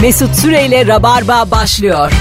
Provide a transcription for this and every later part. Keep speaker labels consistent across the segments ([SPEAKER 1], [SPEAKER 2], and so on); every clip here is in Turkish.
[SPEAKER 1] Mesut Süreyle Rabarba başlıyor.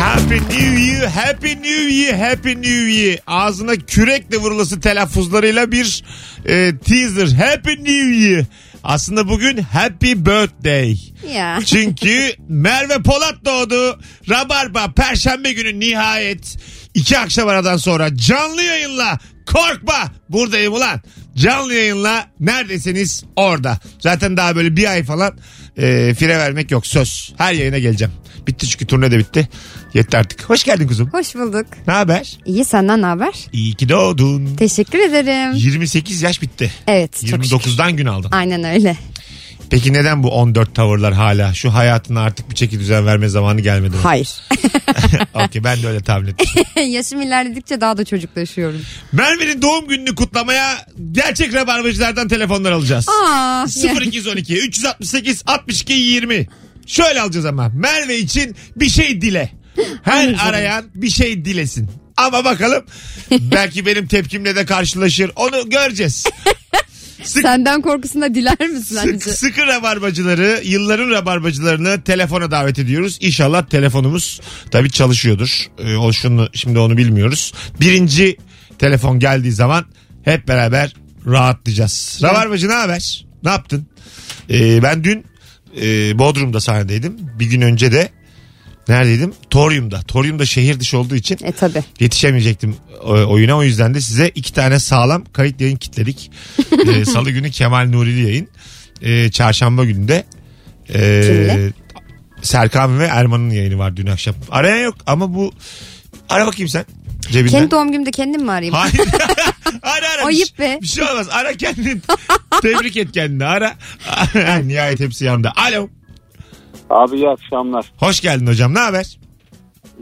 [SPEAKER 2] Happy New Year, Happy New Year, Happy New Year. Ağzına kürekle vurulası telaffuzlarıyla bir e, teaser. Happy New Year. Aslında bugün Happy Birthday.
[SPEAKER 3] Ya.
[SPEAKER 2] Çünkü Merve Polat doğdu. Rabarba Perşembe günü nihayet iki akşam aradan sonra canlı yayınla korkma buradayım ulan. Canlı yayınla neredesiniz orada. Zaten daha böyle bir ay falan e, fire vermek yok söz. Her yayına geleceğim. Bitti çünkü turne de bitti. Yetti artık. Hoş geldin kuzum.
[SPEAKER 3] Hoş bulduk.
[SPEAKER 2] Ne haber?
[SPEAKER 3] İyi senden ne haber?
[SPEAKER 2] İyi ki doğdun.
[SPEAKER 3] Teşekkür ederim.
[SPEAKER 2] 28 yaş bitti.
[SPEAKER 3] Evet çok şükür.
[SPEAKER 2] 29'dan gün aldın.
[SPEAKER 3] Aynen öyle.
[SPEAKER 2] Peki neden bu 14 tavırlar hala? Şu hayatına artık bir çeki düzen verme zamanı gelmedi mi?
[SPEAKER 3] Hayır.
[SPEAKER 2] Okey ben de öyle tahmin ettim.
[SPEAKER 3] Yaşım ilerledikçe daha da çocuklaşıyorum.
[SPEAKER 2] Merve'nin doğum gününü kutlamaya gerçek rabarbacılardan telefonlar alacağız.
[SPEAKER 3] Aa.
[SPEAKER 2] 0212 368 62 20. Şöyle alacağız ama Merve için bir şey dile. Her arayan bir şey dilesin. Ama bakalım belki benim tepkimle de karşılaşır. Onu göreceğiz.
[SPEAKER 3] Senden korkusunda diler misin
[SPEAKER 2] Sık,
[SPEAKER 3] bence?
[SPEAKER 2] sıkı rabarbacıları, yılların rabarbacılarını telefona davet ediyoruz. İnşallah telefonumuz tabii çalışıyordur. Ee, o şunu şimdi onu bilmiyoruz. Birinci telefon geldiği zaman hep beraber rahatlayacağız. Rabarbacı ne haber? Ne yaptın? Ee, ben dün e, Bodrum'da sahnedeydim. Bir gün önce de neredeydim? Torium'da. Torium'da şehir dışı olduğu için
[SPEAKER 3] E tabi.
[SPEAKER 2] yetişemeyecektim e, oyuna. O yüzden de size iki tane sağlam kayıt yayın kitledik. E, Salı günü Kemal Nurili yayın. E, çarşamba günü de e,
[SPEAKER 3] Kimle?
[SPEAKER 2] Serkan ve Erman'ın yayını var dün akşam. Arayan yok ama bu ara bakayım sen cebinden.
[SPEAKER 3] Kendi doğum günümde kendim mi arayayım?
[SPEAKER 2] Hayır. ara ara.
[SPEAKER 3] Ayıp
[SPEAKER 2] Bir şey-
[SPEAKER 3] be.
[SPEAKER 2] Bir şey olmaz. Ara kendini. Tebrik et kendini. Ara. Nihayet hepsi yanında. Alo.
[SPEAKER 4] Abi iyi akşamlar.
[SPEAKER 2] Hoş geldin hocam. Ne haber?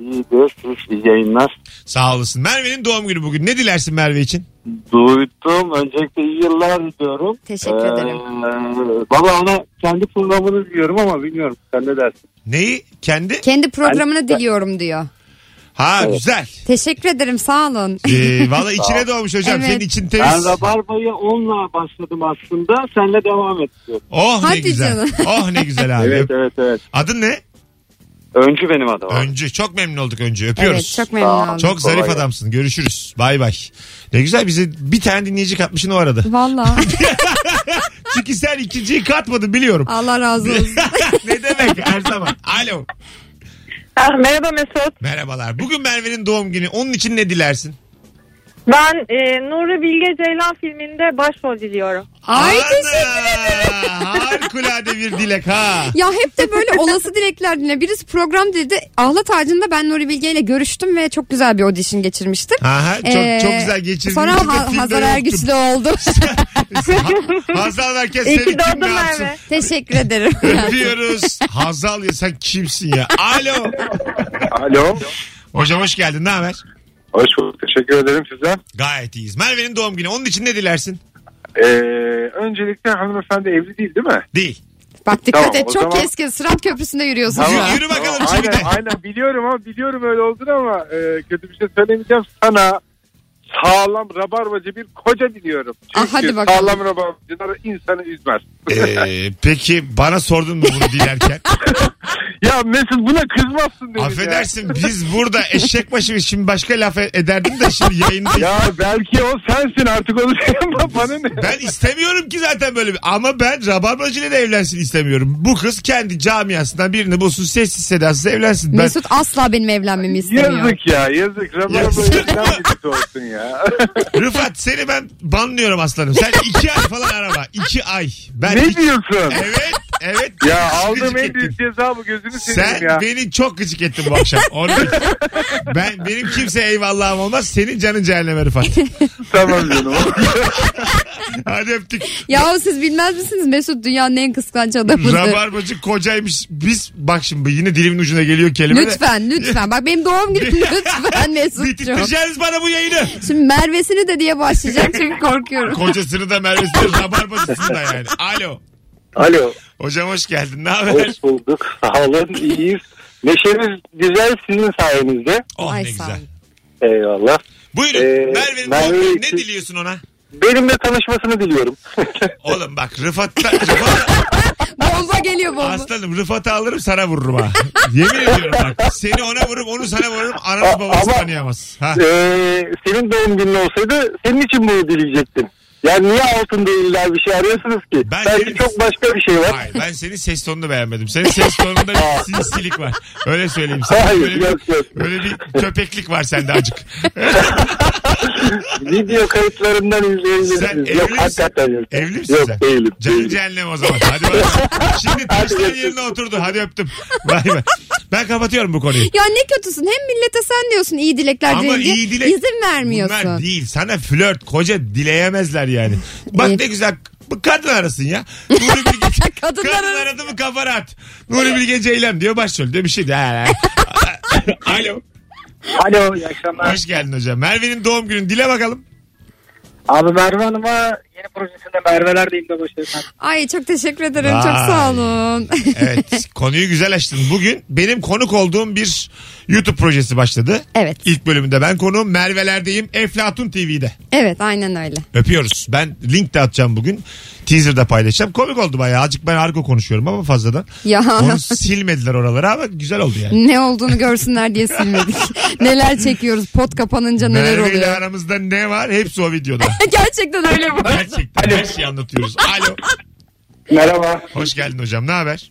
[SPEAKER 4] İyi görüşürüz. iyi yayınlar.
[SPEAKER 2] Sağ olasın. Merve'nin doğum günü bugün. Ne dilersin Merve için?
[SPEAKER 4] Duydum. Öncelikle iyi yıllar diliyorum.
[SPEAKER 3] Teşekkür ederim.
[SPEAKER 4] Ee, Valla ona kendi programını diyorum ama bilmiyorum. Sen ne dersin?
[SPEAKER 2] Neyi? Kendi?
[SPEAKER 3] Kendi programını
[SPEAKER 4] Ben-
[SPEAKER 3] diliyorum diyor.
[SPEAKER 2] Ha güzel.
[SPEAKER 3] Teşekkür ederim sağ olun.
[SPEAKER 2] Ee, Valla içine doğmuş hocam.
[SPEAKER 3] Evet.
[SPEAKER 2] Senin için
[SPEAKER 4] Ben
[SPEAKER 2] temiz.
[SPEAKER 4] Rabarba'ya onunla başladım aslında. Senle devam ediyorum.
[SPEAKER 2] Oh ne
[SPEAKER 3] Hadi
[SPEAKER 2] güzel.
[SPEAKER 3] canım.
[SPEAKER 2] Oh ne güzel abi.
[SPEAKER 4] Evet evet evet.
[SPEAKER 2] Adın ne?
[SPEAKER 4] Öncü benim adım. abi.
[SPEAKER 2] Öncü. Çok memnun olduk Öncü.
[SPEAKER 3] evet
[SPEAKER 2] Öpüyoruz.
[SPEAKER 3] çok memnun
[SPEAKER 4] Sağ ol.
[SPEAKER 3] oldum.
[SPEAKER 2] Çok zarif
[SPEAKER 4] Kolay gelsin.
[SPEAKER 2] adamsın. Görüşürüz. Bay bay. Ne güzel bize bir tane dinleyici katmışsın o arada.
[SPEAKER 3] Valla
[SPEAKER 2] Çünkü sen ikinciyi katmadın biliyorum.
[SPEAKER 3] Allah razı olsun.
[SPEAKER 2] ne demek her zaman. Alo.
[SPEAKER 5] Ah, merhaba Mesut.
[SPEAKER 2] Merhabalar. Bugün Merve'nin doğum günü. Onun için ne dilersin?
[SPEAKER 5] Ben e, Nuri Bilge Ceylan filminde başrol diliyorum.
[SPEAKER 3] Ay
[SPEAKER 2] Ana!
[SPEAKER 3] teşekkür
[SPEAKER 2] Harikulade bir dilek ha.
[SPEAKER 3] Ya hep de böyle olası dilekler dinle. Birisi program dedi. Ahlat ağacında ben Nuri Bilge ile görüştüm ve çok güzel bir audition geçirmiştik.
[SPEAKER 2] Aha, çok,
[SPEAKER 3] Ee,
[SPEAKER 2] çok güzel geçirdiniz.
[SPEAKER 3] Sonra
[SPEAKER 2] de
[SPEAKER 3] Ha-
[SPEAKER 2] filmde
[SPEAKER 3] Hazar
[SPEAKER 2] yoktun.
[SPEAKER 3] Ergüçlü oldu.
[SPEAKER 2] Ha- Hazal herkes
[SPEAKER 5] İyi
[SPEAKER 2] seni kim
[SPEAKER 5] ki
[SPEAKER 2] ne
[SPEAKER 5] doğdun
[SPEAKER 2] yapsın?
[SPEAKER 5] Merve.
[SPEAKER 3] Teşekkür ederim.
[SPEAKER 2] Öpüyoruz. Hazal ya sen kimsin ya? Alo.
[SPEAKER 6] Alo.
[SPEAKER 2] Hocam hoş geldin. Ne haber?
[SPEAKER 6] Hoş bulduk. Teşekkür ederim size.
[SPEAKER 2] Gayet iyiyiz. Merve'nin doğum günü. Onun için ne dilersin?
[SPEAKER 6] Ee, öncelikle hanımefendi evli değil değil mi?
[SPEAKER 2] Değil.
[SPEAKER 3] Bak dikkat
[SPEAKER 6] Tamam,
[SPEAKER 3] et
[SPEAKER 6] o
[SPEAKER 3] çok
[SPEAKER 6] zaman-
[SPEAKER 3] keskin. Sırat köprüsünde yürüyorsun.
[SPEAKER 2] Yürü-
[SPEAKER 3] şu an.
[SPEAKER 2] yürü bakalım
[SPEAKER 6] Tamam,
[SPEAKER 2] şimdi.
[SPEAKER 6] aynen, aynen biliyorum ama biliyorum öyle olduğunu ama e, kötü bir şey söylemeyeceğim. Sana sağlam rabarbacı bir koca diliyorum.
[SPEAKER 3] Ah,
[SPEAKER 6] Çünkü
[SPEAKER 3] hadi bakalım.
[SPEAKER 6] sağlam rabarbacılar insanı üzmez.
[SPEAKER 2] Ee, peki bana sordun mu bunu dilerken?
[SPEAKER 6] ya Mesut buna kızmazsın dedim
[SPEAKER 2] Affedersin biz burada eşek başıyız. Şimdi başka laf e- ederdim de şimdi yayında.
[SPEAKER 6] Ya. ya belki o sensin artık onu şey yapma bana ne?
[SPEAKER 2] Ben istemiyorum ki zaten böyle bir. Ama ben rabarbacıyla da evlensin istemiyorum. Bu kız kendi camiasından birini bulsun sessiz sedasız evlensin. Ben...
[SPEAKER 3] Mesut asla benim evlenmemi istemiyor.
[SPEAKER 6] Yazık ya yazık. Rabarbacı
[SPEAKER 2] Yazık.
[SPEAKER 6] insan birisi olsun ya.
[SPEAKER 2] Rıfat seni ben banlıyorum aslanım. Sen iki ay falan arama. İki ay. Ben
[SPEAKER 6] ne
[SPEAKER 2] iki-
[SPEAKER 6] diyorsun?
[SPEAKER 2] Evet, evet.
[SPEAKER 6] Ya
[SPEAKER 2] Gıcık
[SPEAKER 6] aldığım en
[SPEAKER 2] ettin.
[SPEAKER 6] büyük ceza bu gözünü seveyim
[SPEAKER 2] Sen
[SPEAKER 6] ya.
[SPEAKER 2] beni çok gıcık ettin bu akşam. Onu bil. ben benim kimse eyvallahım olmaz. Senin canın cehenneme Rıfat.
[SPEAKER 6] Tamam canım.
[SPEAKER 2] Hadi öptük.
[SPEAKER 3] Yahu siz bilmez misiniz Mesut dünyanın en kıskanç adamıdır.
[SPEAKER 2] Rabarbacı kocaymış. Biz bak şimdi yine dilimin ucuna geliyor kelime de.
[SPEAKER 3] Lütfen lütfen. Bak benim doğum günüm lütfen Mesut'cum.
[SPEAKER 2] Bitireceğiz bana bu yayını.
[SPEAKER 3] Şimdi Merve'sini de diye başlayacağım çünkü korkuyorum.
[SPEAKER 2] Kocasını da Merve'sini de rabarbacısını da yani. Alo.
[SPEAKER 4] Alo.
[SPEAKER 2] Hocam hoş geldin. Ne haber?
[SPEAKER 4] Hoş bulduk. Sağ olun. İyiyiz. Neşemiz güzel sizin sayenizde.
[SPEAKER 2] Oh
[SPEAKER 3] Ay
[SPEAKER 2] ne
[SPEAKER 3] sağ
[SPEAKER 2] güzel.
[SPEAKER 3] ol.
[SPEAKER 4] Eyvallah.
[SPEAKER 2] Buyurun.
[SPEAKER 4] Ee,
[SPEAKER 2] Merve'nin
[SPEAKER 4] Merve
[SPEAKER 2] doğum günü.
[SPEAKER 4] için-
[SPEAKER 2] ne diliyorsun ona?
[SPEAKER 4] Benimle tanışmasını diliyorum.
[SPEAKER 2] Oğlum bak Rıfat'ta Rıfat,
[SPEAKER 3] Bomba Rıfat oldu.
[SPEAKER 2] Aslanım Rıfat'ı alırım sana vururum ha. Yemin ediyorum bak. Seni ona vururum onu sana vururum. Ananı
[SPEAKER 4] Ama-
[SPEAKER 2] babası tanıyamaz. Ha.
[SPEAKER 4] Ee, senin doğum günün olsaydı senin için bunu dileyecektim. Ya niye altında illa bir şey arıyorsunuz ki?
[SPEAKER 2] Ben
[SPEAKER 4] Belki
[SPEAKER 2] senin-
[SPEAKER 4] çok başka bir şey var.
[SPEAKER 2] Hayır ben senin ses tonunu beğenmedim. Senin ses tonunda bir sinsilik var. Öyle söyleyeyim sana.
[SPEAKER 4] Hayır,
[SPEAKER 2] Böyle bir-
[SPEAKER 4] yok, yok.
[SPEAKER 2] Böyle bir köpeklik var sende acık.
[SPEAKER 4] Video kayıtlarından
[SPEAKER 2] Sen
[SPEAKER 4] izleyebilirsiniz.
[SPEAKER 2] evli
[SPEAKER 4] Yok
[SPEAKER 2] misin?
[SPEAKER 4] hakikaten yok.
[SPEAKER 2] Evli misin
[SPEAKER 4] Yok
[SPEAKER 2] sen?
[SPEAKER 4] değilim.
[SPEAKER 2] Canı
[SPEAKER 4] değilim.
[SPEAKER 2] cehennem o zaman. Hadi bakalım. Şimdi taşların yerine oturdu. Hadi öptüm. Bay bay. Ben kapatıyorum bu konuyu.
[SPEAKER 3] Ya ne kötüsün hem millete sen diyorsun iyi dilekler
[SPEAKER 2] Ama
[SPEAKER 3] dileyince
[SPEAKER 2] iyi dilek
[SPEAKER 3] izin
[SPEAKER 2] Bunlar
[SPEAKER 3] vermiyorsun.
[SPEAKER 2] değil. Sana flört koca dileyemezler yani. Bak
[SPEAKER 3] Evet.
[SPEAKER 2] ne güzel bu kadın arasın ya. Nuri Bilge, kadın,
[SPEAKER 3] Kadınlar arasın.
[SPEAKER 2] aradı mı kafa rahat. Nuri Bilge Ceylan diyor başrol diyor bir şey de. ha, ha. Alo.
[SPEAKER 7] Alo iyi akşamlar.
[SPEAKER 2] Hoş geldin hocam. Merve'nin doğum günü dile bakalım.
[SPEAKER 7] Abi Merve Hanım'a yeni projesinde Merve'ler de imza başlıyorsun.
[SPEAKER 3] Ay çok teşekkür ederim çok
[SPEAKER 2] Vay.
[SPEAKER 3] sağ olun.
[SPEAKER 2] Evet konuyu güzel açtın. Bugün benim konuk olduğum bir YouTube projesi başladı.
[SPEAKER 3] Evet.
[SPEAKER 2] İlk bölümünde ben konuğum Merve'lerdeyim Eflatun TV'de.
[SPEAKER 3] evet aynen öyle.
[SPEAKER 2] Öpüyoruz. Ben link de atacağım bugün. Teaser'da paylaşacağım. Komik oldu bayağı. Azıcık ben argo konuşuyorum ama fazladan.
[SPEAKER 3] Ya.
[SPEAKER 2] Onu silmediler oraları ama güzel oldu yani.
[SPEAKER 3] Ne olduğunu görsünler diye silmedik. neler çekiyoruz pot kapanınca neler
[SPEAKER 2] Merve ile
[SPEAKER 3] oluyor.
[SPEAKER 2] aramızda ne var? Hepsi o videoda.
[SPEAKER 3] Gerçekten öyle bu.
[SPEAKER 2] Gerçekten her şeyi anlatıyoruz. Alo.
[SPEAKER 7] Merhaba.
[SPEAKER 2] Hoş geldin hocam. Ne haber?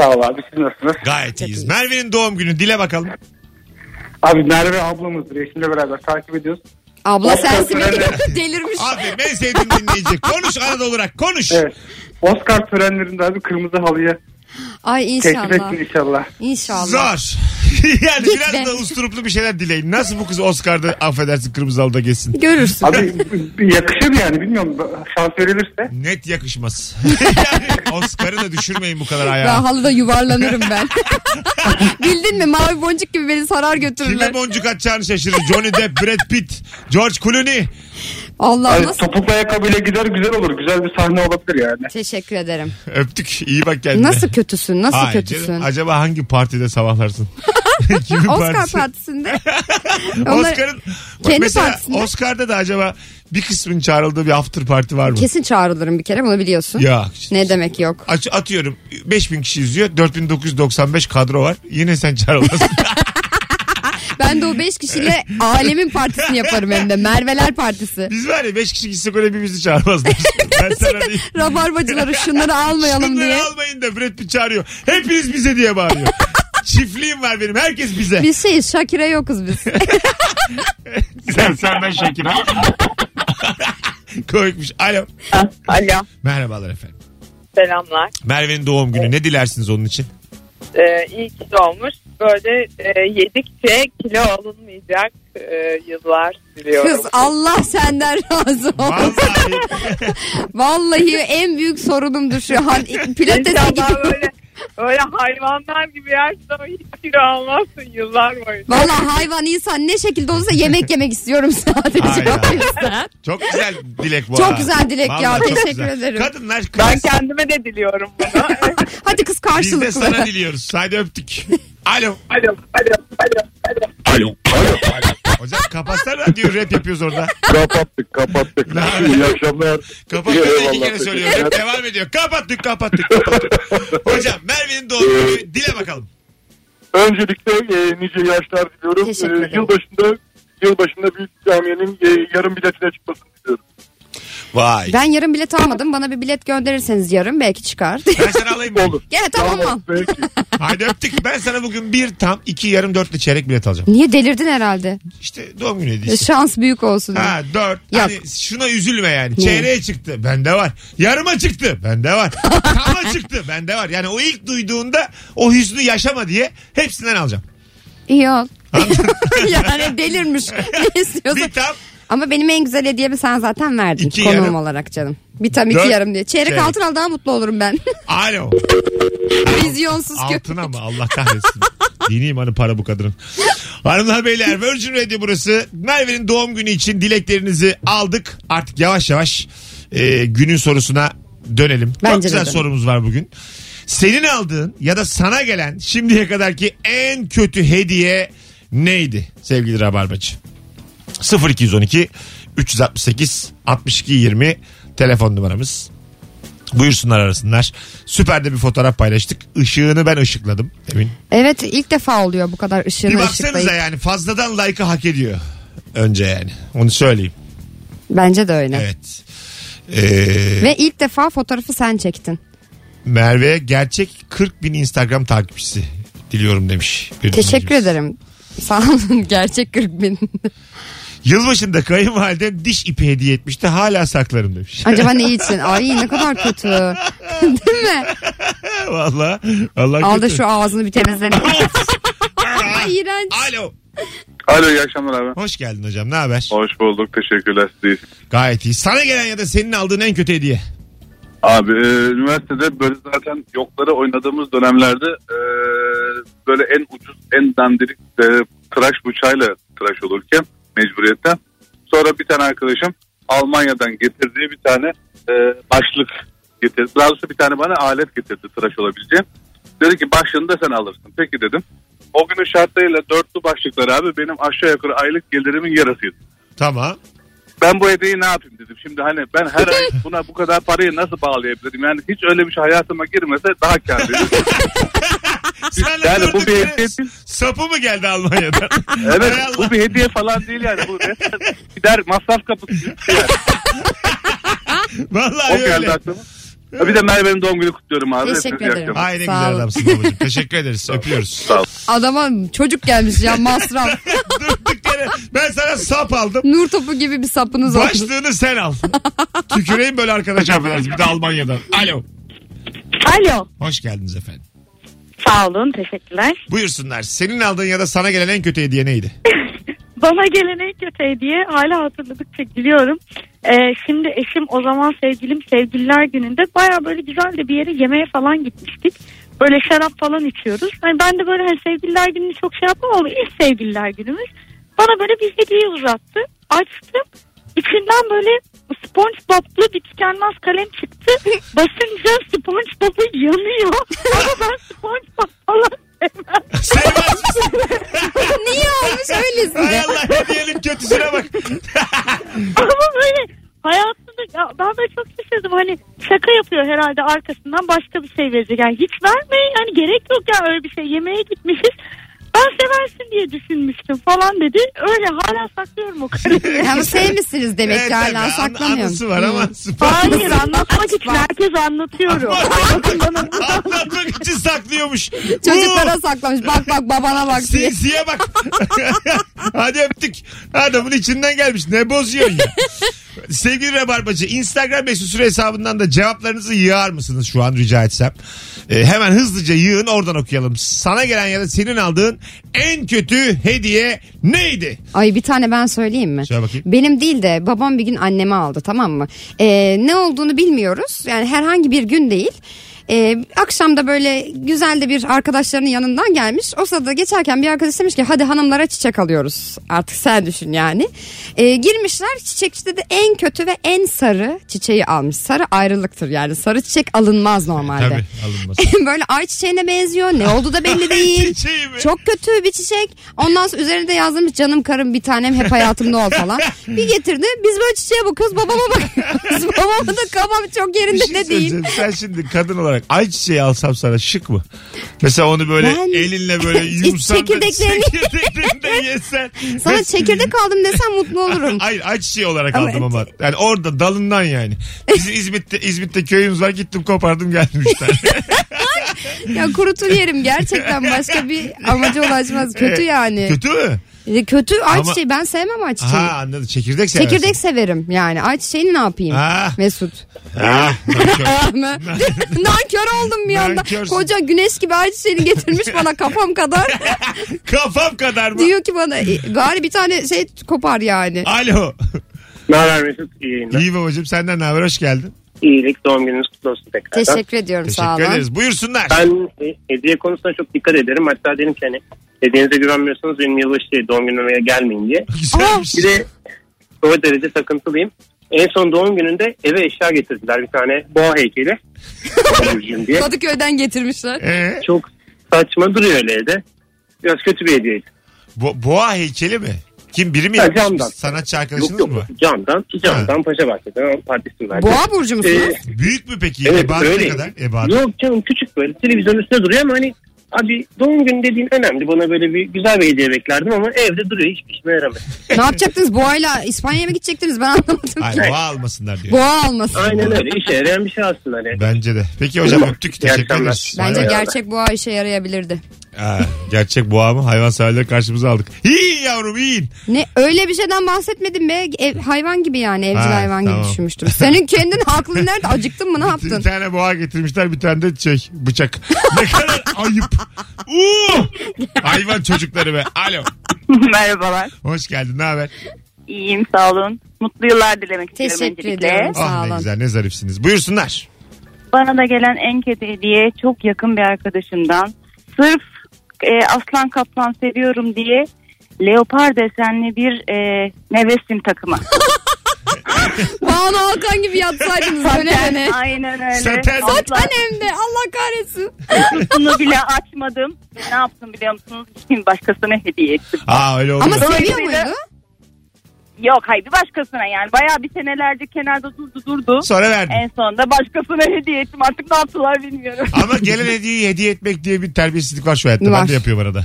[SPEAKER 7] Sağ ol abi siz nasılsınız?
[SPEAKER 2] Gayet iyiyiz. Merve'nin doğum günü. Dile bakalım.
[SPEAKER 7] Abi Merve ablamızdır. Eşimle beraber takip ediyoruz.
[SPEAKER 3] Abla
[SPEAKER 7] Oscar
[SPEAKER 3] sensin
[SPEAKER 7] töreni.
[SPEAKER 3] delirmiş.
[SPEAKER 2] Aferin en sevdiğim dinleyici. Konuş Anadolu Rock. Konuş.
[SPEAKER 7] Evet. Oscar törenlerinde abi kırmızı halıya
[SPEAKER 3] Ay
[SPEAKER 7] teklif
[SPEAKER 3] inşallah.
[SPEAKER 7] etsin inşallah.
[SPEAKER 3] İnşallah.
[SPEAKER 2] Zor. yani biraz
[SPEAKER 3] be.
[SPEAKER 2] da usturuplu bir şeyler dileyin. Nasıl bu kız Oscar'da affedersin kırmızı halıda geçsin?
[SPEAKER 3] Görürsün.
[SPEAKER 7] Abi yakışır yani bilmiyorum şans verilirse.
[SPEAKER 2] Net yakışmaz. yani Oscar'ı da düşürmeyin bu kadar ayağa.
[SPEAKER 3] Ben halıda yuvarlanırım ben. Bildin mi? Mavi boncuk gibi beni sarar götürürler.
[SPEAKER 2] Kime boncuk atacağını şaşırır. Johnny Depp, Brad Pitt, George Clooney.
[SPEAKER 3] Allah
[SPEAKER 7] Abi,
[SPEAKER 3] nasıl?
[SPEAKER 7] topuklu ayakkabıyla gider güzel olur. Güzel bir sahne olabilir yani.
[SPEAKER 3] Teşekkür ederim.
[SPEAKER 2] Öptük. İyi bak kendine.
[SPEAKER 3] Nasıl kötüsün? Nasıl
[SPEAKER 2] Ay
[SPEAKER 3] kötüsün?
[SPEAKER 2] canım, acaba hangi partide sabahlarsın? Kimin
[SPEAKER 3] Oscar
[SPEAKER 2] partisi?
[SPEAKER 3] partisinde. Onlar-
[SPEAKER 2] Oscar'ın
[SPEAKER 3] Kendi
[SPEAKER 2] mesela
[SPEAKER 3] partisinde.
[SPEAKER 2] Oscar'da da acaba bir kısmın çağrıldığı bir after party var mı?
[SPEAKER 3] Kesin çağrılırım bir kere bunu biliyorsun.
[SPEAKER 2] Ya.
[SPEAKER 3] Ne demek yok.
[SPEAKER 2] Aç- atıyorum 5000 kişi izliyor 4995 kadro var yine sen çağrılmasın.
[SPEAKER 3] Ben de o beş kişiyle alemin partisini yaparım hem de. Merveler partisi.
[SPEAKER 2] Biz var ya 5 kişi gitsek öyle birbirimizi çağırmazlar. ben sana diyeyim.
[SPEAKER 3] Rabarbacıları şunları almayalım
[SPEAKER 2] Şunları
[SPEAKER 3] diye.
[SPEAKER 2] almayın da Brad Pitt çağırıyor. Hepiniz bize diye bağırıyor. Çiftliğim var benim herkes bize.
[SPEAKER 3] Biz şeyiz Şakir'e yokuz biz.
[SPEAKER 2] Sen senden Şakir'e. Komikmiş. Alo.
[SPEAKER 5] Ah, Alo.
[SPEAKER 2] Merhabalar efendim.
[SPEAKER 5] Selamlar.
[SPEAKER 2] Merve'nin doğum günü ne dilersiniz onun için?
[SPEAKER 5] Ee, iyi ki doğmuş. Böyle e, yedikçe kilo alınmayacak e, yıllar diliyorum.
[SPEAKER 3] Kız Allah senden razı olsun.
[SPEAKER 2] Vallahi
[SPEAKER 3] Vallahi en büyük sorunumdur şu an. Pilates'e
[SPEAKER 5] İnşallah
[SPEAKER 3] gidiyorum.
[SPEAKER 5] böyle, böyle hayvanlar gibi yersin ama hiç kilo almazsın yıllar boyunca.
[SPEAKER 3] Vallahi hayvan insan ne şekilde olursa yemek yemek istiyorum sadece.
[SPEAKER 2] Aynen.
[SPEAKER 3] O yüzden.
[SPEAKER 2] çok güzel dilek bu.
[SPEAKER 3] Çok
[SPEAKER 2] arada.
[SPEAKER 3] güzel dilek ya,
[SPEAKER 2] Vallahi çok
[SPEAKER 3] teşekkür ederim.
[SPEAKER 2] Kadınlar
[SPEAKER 5] Ben
[SPEAKER 2] kız.
[SPEAKER 5] kendime de diliyorum bunu.
[SPEAKER 3] Hadi kız
[SPEAKER 2] Biz de
[SPEAKER 3] karşılıklı.
[SPEAKER 2] sana diliyoruz. Hadi öptük. Alo.
[SPEAKER 5] alo, alo, alo, alo.
[SPEAKER 4] Alo. Alo.
[SPEAKER 2] Hocam kapatsana radyoyu rap yapıyoruz orada.
[SPEAKER 4] Kapattık kapattık. İyi akşamlar.
[SPEAKER 2] Kapattık da iki
[SPEAKER 4] Eyvallah,
[SPEAKER 2] kere söylüyorum.
[SPEAKER 4] teşekkürler.
[SPEAKER 2] Devam ediyor. Kapattık kapattık kapattık. Hocam Merve'nin doğum günü dile bakalım.
[SPEAKER 4] Öncelikle e, nice yaşlar diliyorum.
[SPEAKER 3] Teşekkür ederim.
[SPEAKER 4] E, yılbaşında, yılbaşında büyük camiyenin e, yarım biletine çıkmasını diliyorum.
[SPEAKER 2] Vay.
[SPEAKER 3] Ben yarın bilet almadım. Bana bir bilet gönderirseniz yarın belki çıkar.
[SPEAKER 2] Ben sana alayım. mı?
[SPEAKER 4] Olur.
[SPEAKER 3] Gene tamam al.
[SPEAKER 4] Peki.
[SPEAKER 2] Hadi öptük. Ben sana bugün bir tam iki yarım dörtlü çeyrek bilet alacağım.
[SPEAKER 3] Niye delirdin herhalde?
[SPEAKER 2] İşte doğum günü
[SPEAKER 3] E,
[SPEAKER 2] hediyesi.
[SPEAKER 3] Şans büyük olsun.
[SPEAKER 2] Ha dört.
[SPEAKER 3] Yok.
[SPEAKER 2] Hani şuna üzülme yani. Çeyreğe çıktı. Bende var. Yarıma çıktı. Bende var. Tama çıktı. Bende var. Yani o ilk duyduğunda o hüznü yaşama diye hepsinden alacağım.
[SPEAKER 3] İyi ol. yani delirmiş. Ne istiyorsun?
[SPEAKER 2] Bir tam
[SPEAKER 3] Ama benim en güzel hediyemi sen zaten verdin.
[SPEAKER 2] İki
[SPEAKER 3] konuğum
[SPEAKER 2] yarım.
[SPEAKER 3] olarak canım. Bir tam iki
[SPEAKER 2] Dört. şey.
[SPEAKER 3] yarım diye. Çeyrek,
[SPEAKER 2] Çeyrek.
[SPEAKER 3] altın al daha mutlu olurum ben.
[SPEAKER 2] alo.
[SPEAKER 3] Vizyonsuz köpek.
[SPEAKER 2] Altına mı? Allah kahretsin. Diniyim hanım para bu kadının. Hanımlar beyler Virgin Radio burası. Merve'nin doğum günü için dileklerinizi aldık. Artık yavaş yavaş e, günün sorusuna dönelim. Çok
[SPEAKER 3] Bence de
[SPEAKER 2] güzel
[SPEAKER 3] dönelim.
[SPEAKER 2] sorumuz var bugün. Senin aldığın ya da sana gelen şimdiye kadarki en kötü hediye neydi sevgili Rabarbacı? 0212 368 62 20 telefon numaramız. Buyursunlar arasınlar. Süper de bir fotoğraf paylaştık. Işığını ben ışıkladım. Emin.
[SPEAKER 3] Evet ilk defa oluyor bu kadar
[SPEAKER 2] Bir
[SPEAKER 3] ışığını
[SPEAKER 2] baksanıza
[SPEAKER 3] ışıklayıp.
[SPEAKER 2] yani fazladan like'ı hak ediyor. Önce yani. Onu söyleyeyim.
[SPEAKER 3] Bence de öyle.
[SPEAKER 2] Evet. Ee,
[SPEAKER 3] Ve ilk defa fotoğrafı sen çektin.
[SPEAKER 2] Merve'ye gerçek 40 bin Instagram takipçisi diliyorum demiş. bir
[SPEAKER 3] Teşekkür
[SPEAKER 2] dinleyicimiz.
[SPEAKER 3] ederim. Sağ olun. Gerçek 40 bin.
[SPEAKER 2] Yılbaşında kayınvalidem diş ipi hediye etmişti. Hala saklarım demiş.
[SPEAKER 3] Acaba ne için? Ay ne kadar kötü. Değil mi?
[SPEAKER 2] Valla. Allah
[SPEAKER 3] Al da
[SPEAKER 2] kötü.
[SPEAKER 3] şu ağzını bir temizle. Ay iğrenç.
[SPEAKER 2] Alo.
[SPEAKER 8] Alo iyi akşamlar abi.
[SPEAKER 2] Hoş geldin hocam. Ne haber?
[SPEAKER 8] Hoş bulduk teşekkürler siz.
[SPEAKER 2] Gayet iyi. Sana gelen ya da senin aldığın en kötü hediye.
[SPEAKER 8] Abi e, üniversitede böyle zaten yokları oynadığımız dönemlerde e, böyle en ucuz en dandirik e, tıraş bıçağıyla tıraş olurken mecburiyetten. Sonra bir tane arkadaşım Almanya'dan getirdiği bir tane e, başlık getirdi. Daha doğrusu bir tane bana alet getirdi tıraş olabileceğim. Dedi ki başlığını da sen alırsın. Peki dedim. O günün şartlarıyla dörtlü başlıklar abi benim aşağı yukarı aylık gelirimin yarısıydı.
[SPEAKER 2] Tamam.
[SPEAKER 8] ben bu hediyeyi ne yapayım dedim. Şimdi hani ben her ay buna bu kadar parayı nasıl bağlayabilirim? Yani hiç öyle bir şey hayatıma girmese daha kârlıydı.
[SPEAKER 2] Sen
[SPEAKER 8] Yani
[SPEAKER 2] gördük
[SPEAKER 8] bu bir
[SPEAKER 2] ya.
[SPEAKER 8] hediye değil.
[SPEAKER 2] Sapı mı geldi Almanya'dan?
[SPEAKER 8] Evet
[SPEAKER 2] Hay Allah.
[SPEAKER 8] bu bir hediye falan değil yani. Bu resmen gider masraf kapısı. şey Yani.
[SPEAKER 2] Vallahi
[SPEAKER 8] O geldi
[SPEAKER 2] öyle.
[SPEAKER 8] aklıma. Bir de Merve'nin doğum günü kutluyorum abi.
[SPEAKER 3] Teşekkür
[SPEAKER 8] Hepinize iyi
[SPEAKER 3] ederim.
[SPEAKER 8] akşamlar.
[SPEAKER 2] Ay ne
[SPEAKER 3] Sağ
[SPEAKER 2] güzel
[SPEAKER 3] olun.
[SPEAKER 2] adamsın babacığım. Teşekkür ederiz. Öpüyoruz.
[SPEAKER 8] Sağ ol.
[SPEAKER 3] Adama çocuk gelmiş ya masraf.
[SPEAKER 2] Durduk yere ben sana sap aldım.
[SPEAKER 3] Nur topu gibi bir sapınız oldu.
[SPEAKER 2] Başlığını sen al. Tüküreyim böyle arkadaş affedersin. Bir de Almanya'dan. Alo.
[SPEAKER 5] Alo.
[SPEAKER 2] Hoş geldiniz efendim.
[SPEAKER 5] Sağ olun teşekkürler.
[SPEAKER 2] Buyursunlar. Senin aldığın ya da sana gelen en kötü hediye neydi?
[SPEAKER 5] Bana gelen en kötü hediye hala hatırladıkça gülüyorum. Ee, şimdi eşim o zaman sevgilim sevgililer gününde baya böyle güzel de bir yere yemeğe falan gitmiştik. Böyle şarap falan içiyoruz. Hani ben de böyle hani sevgililer gününü çok şey yapmam ama ilk sevgililer günümüz. Bana böyle bir hediye uzattı. Açtım. İçinden böyle SpongeBob'lu bir tükenmez kalem çıktı. Basınca SpongeBob'u yanıyor. Ama ben SpongeBob falan sevmem.
[SPEAKER 2] Sevmez misin?
[SPEAKER 3] Niye olmuş
[SPEAKER 2] Hay
[SPEAKER 3] öylesine?
[SPEAKER 2] Allah hediyenin kötüsüne bak.
[SPEAKER 5] Ama böyle hayatında ya ben böyle çok şaşırdım. Hani şaka yapıyor herhalde arkasından başka bir şey verecek. Yani hiç vermeyin yani gerek yok ya öyle bir şey. Yemeğe gitmişiz. Ben seversin diye düşünmüştüm falan dedi. Öyle hala saklıyorum o kareyi.
[SPEAKER 3] Ya bu sevmişsiniz demek
[SPEAKER 2] Evet,
[SPEAKER 3] ki
[SPEAKER 2] tabii.
[SPEAKER 3] hala Hmm.
[SPEAKER 2] An-
[SPEAKER 3] saklamıyorum.
[SPEAKER 2] Anısı var ama.
[SPEAKER 5] Hayır anlatmak için herkes anlatıyorum. Bakın bana-
[SPEAKER 2] Anlatmak için saklıyormuş. Oo.
[SPEAKER 3] Çocuklara saklamış. Bak bak babana bak diye.
[SPEAKER 2] Sinsiye bak. Hadi öptük. Adamın içinden gelmiş. Ne bozuyorsun ya? Sevgili Rabarbacı Instagram mesut süre hesabından da cevaplarınızı yığar mısınız şu an rica etsem? Ee, hemen hızlıca yığın oradan okuyalım. Sana gelen ya da senin aldığın en kötü hediye neydi?
[SPEAKER 3] Ay bir tane ben söyleyeyim mi?
[SPEAKER 2] Söyle bakayım.
[SPEAKER 3] Benim değil de babam bir gün anneme aldı tamam mı? Ee, ne olduğunu bilmiyoruz. Yani herhangi bir gün değil. Ee, akşam da böyle güzel de bir arkadaşlarının yanından gelmiş. O sırada geçerken bir arkadaş demiş ki hadi hanımlara çiçek alıyoruz. Artık sen düşün yani. Ee, girmişler çiçekçide de en kötü ve en sarı çiçeği almış. Sarı ayrılıktır yani sarı çiçek alınmaz normalde.
[SPEAKER 2] Tabii alınmaz.
[SPEAKER 3] böyle ay çiçeğine benziyor. Ne oldu da belli değil.
[SPEAKER 2] Çiçeği şey mi?
[SPEAKER 3] şey Çok kötü bir çiçek. Ondan sonra üzerine de yazdım canım karım bir tanem hep hayatımda ol falan. Bir getirdi. Biz böyle çiçeğe bakıyoruz. Babama bakıyoruz. Babamın da kafam çok
[SPEAKER 2] Bir
[SPEAKER 3] yerinde de
[SPEAKER 2] şey
[SPEAKER 3] değil.
[SPEAKER 2] söyleyeceğim. Sen şimdi kadın olarak ayçiçeği alsam sana şık mı? Mesela onu böyle
[SPEAKER 3] Ben-
[SPEAKER 2] elinle böyle yumsan da
[SPEAKER 3] çekirdeklerini-
[SPEAKER 2] çekirdeklerinden yesen.
[SPEAKER 3] Sana çekirdek aldım desem mutlu olurum.
[SPEAKER 2] Hayır ayçiçeği olarak
[SPEAKER 3] Ama-
[SPEAKER 2] aldım ama. Yani orada dalından yani. Bizim İzmit'te, İzmit'te köyümüz var gittim kopardım geldim işte.
[SPEAKER 3] Ya kurutur yerim gerçekten başka bir amaca ulaşmaz. Kötü yani.
[SPEAKER 2] E, Kötü mü?
[SPEAKER 3] E, Kötü
[SPEAKER 2] Ama-
[SPEAKER 3] ayçiçeği ben sevmem ayçiçeği.
[SPEAKER 2] Ha anladım çekirdek seversin.
[SPEAKER 3] Çekirdek severim yani. Ayçiçeğini ne yapayım?
[SPEAKER 2] Ha.
[SPEAKER 3] Mesut.
[SPEAKER 2] Ha, nankör.
[SPEAKER 3] Nankör oldum bir anda.
[SPEAKER 2] Nankörsün.
[SPEAKER 3] Koca güneş gibi ayçiçeğini getirmiş bana kafam kadar.
[SPEAKER 2] Kafam kadar mı?
[SPEAKER 3] Diyor ki bana "E, bari bir tane şey kopar yani.
[SPEAKER 2] Alo.
[SPEAKER 7] Ne haber Mesut? İyi yayınlar.
[SPEAKER 2] İyi babacığım senden ne haber hoş geldin.
[SPEAKER 7] İyilik doğum gününüz kutlu olsun tekrardan.
[SPEAKER 3] Teşekkür ediyorum sağ
[SPEAKER 2] Teşekkür
[SPEAKER 3] olun.
[SPEAKER 2] ederiz. Buyursunlar.
[SPEAKER 7] Ben e, hediye konusunda çok dikkat ederim. Hatta dedim ki hani hediyenize güvenmiyorsanız benim yılbaşı değil, doğum günüme gelmeyin diye.
[SPEAKER 2] Güzelmiş.
[SPEAKER 7] Bir de o derece takıntılıyım. En son doğum gününde eve eşya getirdiler bir tane boğa heykeli. Babacığım diye.
[SPEAKER 3] Kadıköy'den getirmişler.
[SPEAKER 2] Ee,
[SPEAKER 7] Çok saçma duruyor öyle evde. Biraz kötü bir hediyeydi.
[SPEAKER 2] bo- boğa heykeli mi? Kim biri mi
[SPEAKER 7] Ha,
[SPEAKER 2] yapmış?
[SPEAKER 7] camdan.
[SPEAKER 2] Sanatçı arkadaşınız
[SPEAKER 7] Yok yok.
[SPEAKER 2] mı?
[SPEAKER 7] Camdan. ki Camdan Paşa Bahçe'den Partisi'ni verdi.
[SPEAKER 3] Boğa burcu musunuz?
[SPEAKER 7] Ee,
[SPEAKER 2] Büyük mü peki?
[SPEAKER 7] Evet,
[SPEAKER 2] Ebatı ne
[SPEAKER 7] öyleyim.
[SPEAKER 2] kadar? Ebatı.
[SPEAKER 7] Yok canım küçük böyle televizyonun üstünde duruyor ama hani abi doğum günü dediğin önemli. Bana böyle bir güzel bir hediye beklerdim ama evde duruyor hiçbir işime yaramıyor.
[SPEAKER 3] ne yapacaktınız? Boğayla İspanya'ya mı gidecektiniz? Ben anlamadım.
[SPEAKER 2] Hayır, boğa almasınlar diyor.
[SPEAKER 3] Boğa almasın.
[SPEAKER 7] Aynen öyle işe yarayan bir şey aslında. Hani.
[SPEAKER 2] Bence de. Peki hocam öptük. Teşekkür
[SPEAKER 7] akşamlar.
[SPEAKER 2] ederiz.
[SPEAKER 3] Bence
[SPEAKER 2] Bay bay.
[SPEAKER 3] gerçek boğa işe yarayabilirdi.
[SPEAKER 2] Ha, gerçek boğa mı? Hayvan severleri karşımıza aldık. İyi yavrum iyi.
[SPEAKER 3] Ne öyle bir şeyden bahsetmedim be. Ev- hayvan gibi yani evcil
[SPEAKER 2] Ha,
[SPEAKER 3] hayvan
[SPEAKER 2] tamam.
[SPEAKER 3] gibi düşünmüştüm. Senin kendin aklın nerede? Acıktın mı ne yaptın?
[SPEAKER 2] Bir tane boğa getirmişler bir tane de şey bıçak. Ne kadar ayıp. Uuu. Hayvan çocukları be. Alo.
[SPEAKER 9] Merhabalar.
[SPEAKER 2] Hoş geldin ne haber?
[SPEAKER 9] İyiyim sağ olun. Mutlu yıllar dilemek istiyorum
[SPEAKER 3] Teşekkür
[SPEAKER 9] öncelikle.
[SPEAKER 3] ediyorum. Sağ
[SPEAKER 2] Ah ne
[SPEAKER 3] olun.
[SPEAKER 2] güzel ne zarifsiniz. Buyursunlar.
[SPEAKER 9] Bana da gelen en kötü hediye çok yakın bir arkadaşımdan. Sırf e, aslan kaplan seviyorum diye leopar desenli bir e, nevresim takımı.
[SPEAKER 3] Banu Alkan gibi yatsaydınız öyle yani.
[SPEAKER 9] Aynen öyle.
[SPEAKER 2] Saten-
[SPEAKER 9] Asla
[SPEAKER 3] Zaten hem de Allah kahretsin.
[SPEAKER 9] kutusunu bile açmadım. E, Ne yaptım biliyor musunuz? Gittim başkasına hediye ettim.
[SPEAKER 2] Aa öyle oldu.
[SPEAKER 3] Ama seviyor
[SPEAKER 9] Dolayısıyla-
[SPEAKER 3] muydu?
[SPEAKER 9] Yok hayır bir başkasına yani. Bayağı bir senelerce kenarda durdu durdu.
[SPEAKER 2] Sonra verdim.
[SPEAKER 9] En sonunda başkasına hediye ettim. Artık ne yaptılar bilmiyorum.
[SPEAKER 2] Ama gelen hediyeyi hediye etmek diye bir terbiyesizlik var şu hayatta.
[SPEAKER 3] Var.
[SPEAKER 2] Ben de yapıyor bana da.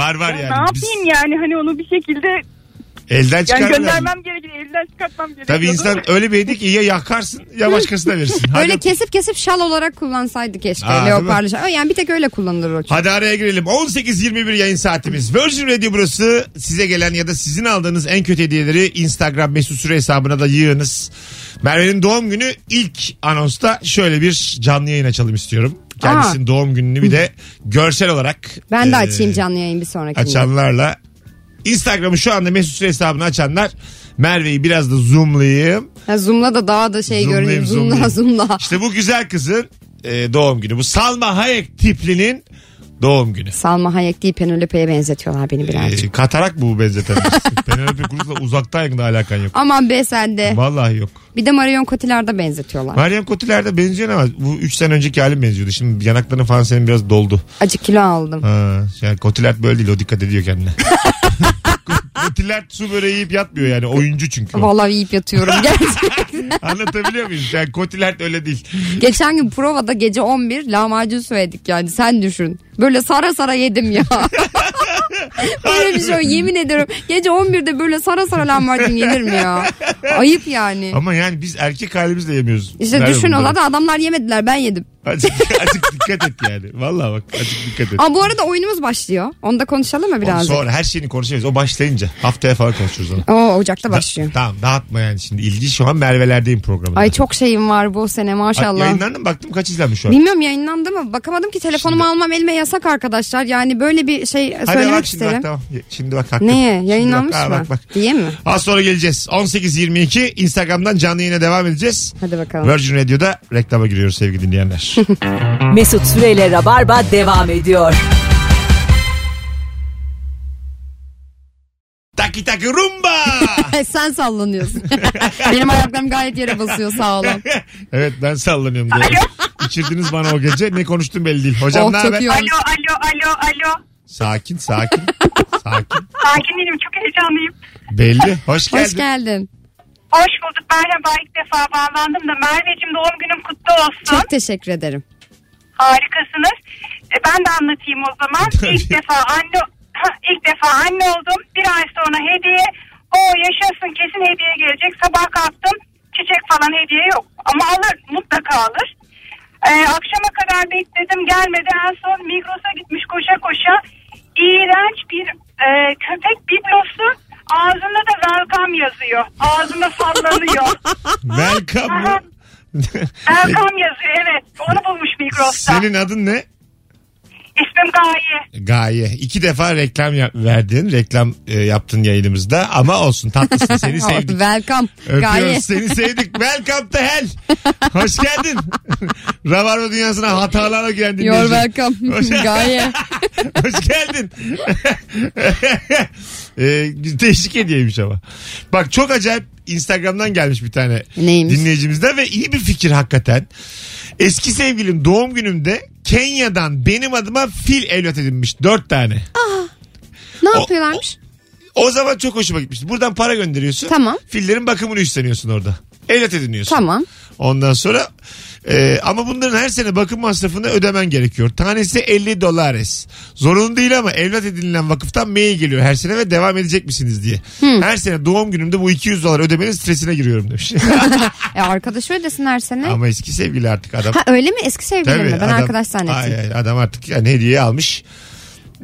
[SPEAKER 2] var var yani.
[SPEAKER 9] ne yapayım yani hani onu bir şekilde
[SPEAKER 2] Elden
[SPEAKER 9] yani
[SPEAKER 2] çıkarmıyor.
[SPEAKER 9] göndermem gerekiyor. Elden çıkartmam gerekiyor.
[SPEAKER 2] Tabii insan öyle bir hediye ki ya yakarsın ya başkasına verirsin. Hadi,
[SPEAKER 3] Böyle kesip kesip şal olarak kullansaydı keşke.
[SPEAKER 2] Aa,
[SPEAKER 3] Leoparlı şal. Yani bir tek öyle kullanılır o. çünkü.
[SPEAKER 2] hadi araya girelim. 18.21 yayın saatimiz. Virgin Radio burası. Size gelen ya da sizin aldığınız en kötü hediyeleri Instagram mesut süre hesabına da yığınız. Merve'nin doğum günü ilk anonsta şöyle bir canlı yayın açalım istiyorum. Kendisinin doğum gününü bir de görsel olarak.
[SPEAKER 3] Ben de
[SPEAKER 2] e,
[SPEAKER 3] açayım canlı yayın bir sonrakinde.
[SPEAKER 2] açanlarla. Instagram'ı şu anda Mesut Süre hesabını açanlar Merve'yi biraz da zoomlayayım.
[SPEAKER 3] Ha, zoom'la da daha da şey
[SPEAKER 2] Zoomlayayım,
[SPEAKER 3] görünüyor. Zoom'la
[SPEAKER 2] zoomlayayım.
[SPEAKER 3] zoom'la.
[SPEAKER 2] İşte bu güzel kızın e, doğum günü. Bu Salma Hayek tiplinin doğum günü.
[SPEAKER 3] Salma Hayek değil Penelope'ye benzetiyorlar beni birazcık.
[SPEAKER 2] E, katarak bu benzetemezsin. Penelope Cruz'la uzaktan yakında alakan yok.
[SPEAKER 3] Aman be sen de.
[SPEAKER 2] Vallahi yok.
[SPEAKER 3] Bir de Marion Cotillard'a benzetiyorlar.
[SPEAKER 2] Meryem Cotillard'a benziyor ama bu 3 sene önceki halim benziyordu. Şimdi yanakların falan senin biraz doldu.
[SPEAKER 3] Acık kilo aldım.
[SPEAKER 2] Ha, yani Cotillard böyle değil o dikkat ediyor kendine. Cotillard su böreği yiyip yatmıyor yani oyuncu çünkü. o.
[SPEAKER 3] Vallahi yiyip yatıyorum. Gerçekten.
[SPEAKER 2] Anlatabiliyor muyum? Yani Cotillard öyle değil.
[SPEAKER 3] Eh. Geçen gün provada gece 11 lahmacun söyledik yani sen düşün. Böyle sara sara yedim ya. böyle bir şey yok. yemin ediyorum. Gece 11'de böyle sara sara lahmacun yenir mi ya? Ayıp yani.
[SPEAKER 2] Ama yani biz erkek halimizle yemiyoruz.
[SPEAKER 3] İşte
[SPEAKER 2] Nerede
[SPEAKER 3] düşün
[SPEAKER 2] bunlar?
[SPEAKER 3] ola da adamlar yemediler ben yedim.
[SPEAKER 2] Azıcık, azıcık dikkat et yani. Vallahi bak azıcık dikkat et.
[SPEAKER 3] Aa, bu arada oyunumuz başlıyor. Onu da konuşalım mı
[SPEAKER 2] Oğlum
[SPEAKER 3] biraz?
[SPEAKER 2] Sonra her şeyini konuşacağız. O başlayınca. Haftaya falan konuşuruz onu.
[SPEAKER 3] Oo, Ocak'ta başlıyor.
[SPEAKER 2] Da- tamam dağıtma yani şimdi. İlgi şu an Merve'lerdeyim programında.
[SPEAKER 3] Ay çok şeyim var bu sene
[SPEAKER 2] Ay,
[SPEAKER 3] maşallah.
[SPEAKER 2] Yayınlandı mı? Baktım kaç izlenmiş şu an.
[SPEAKER 3] Bilmiyorum yayınlandı mı? Bakamadım ki telefonumu almam elime yasak arkadaşlar. Yani böyle bir şey
[SPEAKER 2] Hadi
[SPEAKER 3] söylemek
[SPEAKER 2] bak şimdi
[SPEAKER 3] isterim.
[SPEAKER 2] bak tamam. Şimdi bak hakkım.
[SPEAKER 3] Neye?
[SPEAKER 2] Şimdi
[SPEAKER 3] Yayınlanmış
[SPEAKER 2] bak, aa,
[SPEAKER 3] mı?
[SPEAKER 2] Bak, bak.
[SPEAKER 3] Diye mi?
[SPEAKER 2] Az sonra geleceğiz. 18.22 Instagram'dan canlı yayına devam edeceğiz.
[SPEAKER 3] Hadi bakalım.
[SPEAKER 2] Virgin Radio'da reklama giriyoruz sevgili dinleyenler.
[SPEAKER 1] Mesut Süreyle Rabarba devam ediyor.
[SPEAKER 2] taki taki rumba.
[SPEAKER 3] E, Sen sallanıyorsun. Benim ayaklarım gayet yere basıyor sağ olun.
[SPEAKER 2] evet ben sallanıyorum. Doğru. İçirdiniz bana o gece. Ne konuştum belli değil. Hocam
[SPEAKER 3] oh
[SPEAKER 2] ne
[SPEAKER 3] çok
[SPEAKER 2] haber?
[SPEAKER 3] iyi olmuş.
[SPEAKER 9] Alo alo alo alo.
[SPEAKER 2] Sakin sakin. sakin.
[SPEAKER 9] Sakin değilim çok heyecanlıyım.
[SPEAKER 2] Belli. Hoş geldin.
[SPEAKER 3] Hoş geldin.
[SPEAKER 9] Hoş bulduk merhaba ilk defa bağlandım da Merveciğim doğum günüm kutlu olsun.
[SPEAKER 3] Çok teşekkür ederim.
[SPEAKER 9] Harikasınız. E, Ben de anlatayım o zaman.
[SPEAKER 2] Tabii.
[SPEAKER 9] ilk defa anne ilk defa anne oldum. Bir ay sonra hediye. O yaşasın kesin hediye gelecek. Sabah kalktım. Çiçek falan hediye yok. Ama alır mutlaka alır. E, akşama kadar bekledim gelmedi. En son Migros'a gitmiş koşa koşa. İğrenç bir e, köpek biblosu. Ağzında da welcome yazıyor. Ağzında sallanıyor.
[SPEAKER 2] Welcome. mı?
[SPEAKER 9] welcome yazıyor evet. Onu bulmuş Migros'ta.
[SPEAKER 2] Senin adın ne?
[SPEAKER 9] İsmim Gaye.
[SPEAKER 2] Gaye. İki defa reklam ya- verdin. Reklam e, yaptın yayınımızda. Ama olsun tatlısın. Seni sevdik.
[SPEAKER 3] Welcome. Gaye.
[SPEAKER 2] Öpüyoruz seni sevdik. Welcome to hell. Hoş geldin. Rabarba dünyasına hatalarla giren
[SPEAKER 3] You're
[SPEAKER 2] dinleyici.
[SPEAKER 3] welcome. Gaye.
[SPEAKER 2] Hoş geldin. e, değişik hediyeymiş ama. Bak çok acayip Instagram'dan gelmiş bir tane
[SPEAKER 3] Neymiş?
[SPEAKER 2] dinleyicimizden ve iyi bir fikir hakikaten. Eski sevgilim doğum günümde Kenya'dan benim adıma fil evlat edinmiş. Dört tane.
[SPEAKER 3] Ne yapıyorlarmış?
[SPEAKER 2] O zaman çok hoşuma gitmişti. Buradan para gönderiyorsun.
[SPEAKER 3] Tamam.
[SPEAKER 2] Fillerin bakımını üstleniyorsun orada. Evlat ediniyorsun.
[SPEAKER 3] Tamam.
[SPEAKER 2] Ondan sonra e, ama bunların her sene bakım masrafını ödemen gerekiyor. Tanesi 50 dolares. Zorunlu değil ama evlat edinilen vakıftan mail geliyor her sene ve devam edecek misiniz diye.
[SPEAKER 3] Hmm.
[SPEAKER 2] Her sene doğum günümde bu 200 dolar ödemenin stresine giriyorum demiş.
[SPEAKER 3] E arkadaşı ödesin her sene.
[SPEAKER 2] ama eski sevgili artık adam.
[SPEAKER 3] Ha öyle mi? Eski sevgili mi? Ben arkadaş zannettim.
[SPEAKER 2] Ay, ay, adam artık yani hediye almış.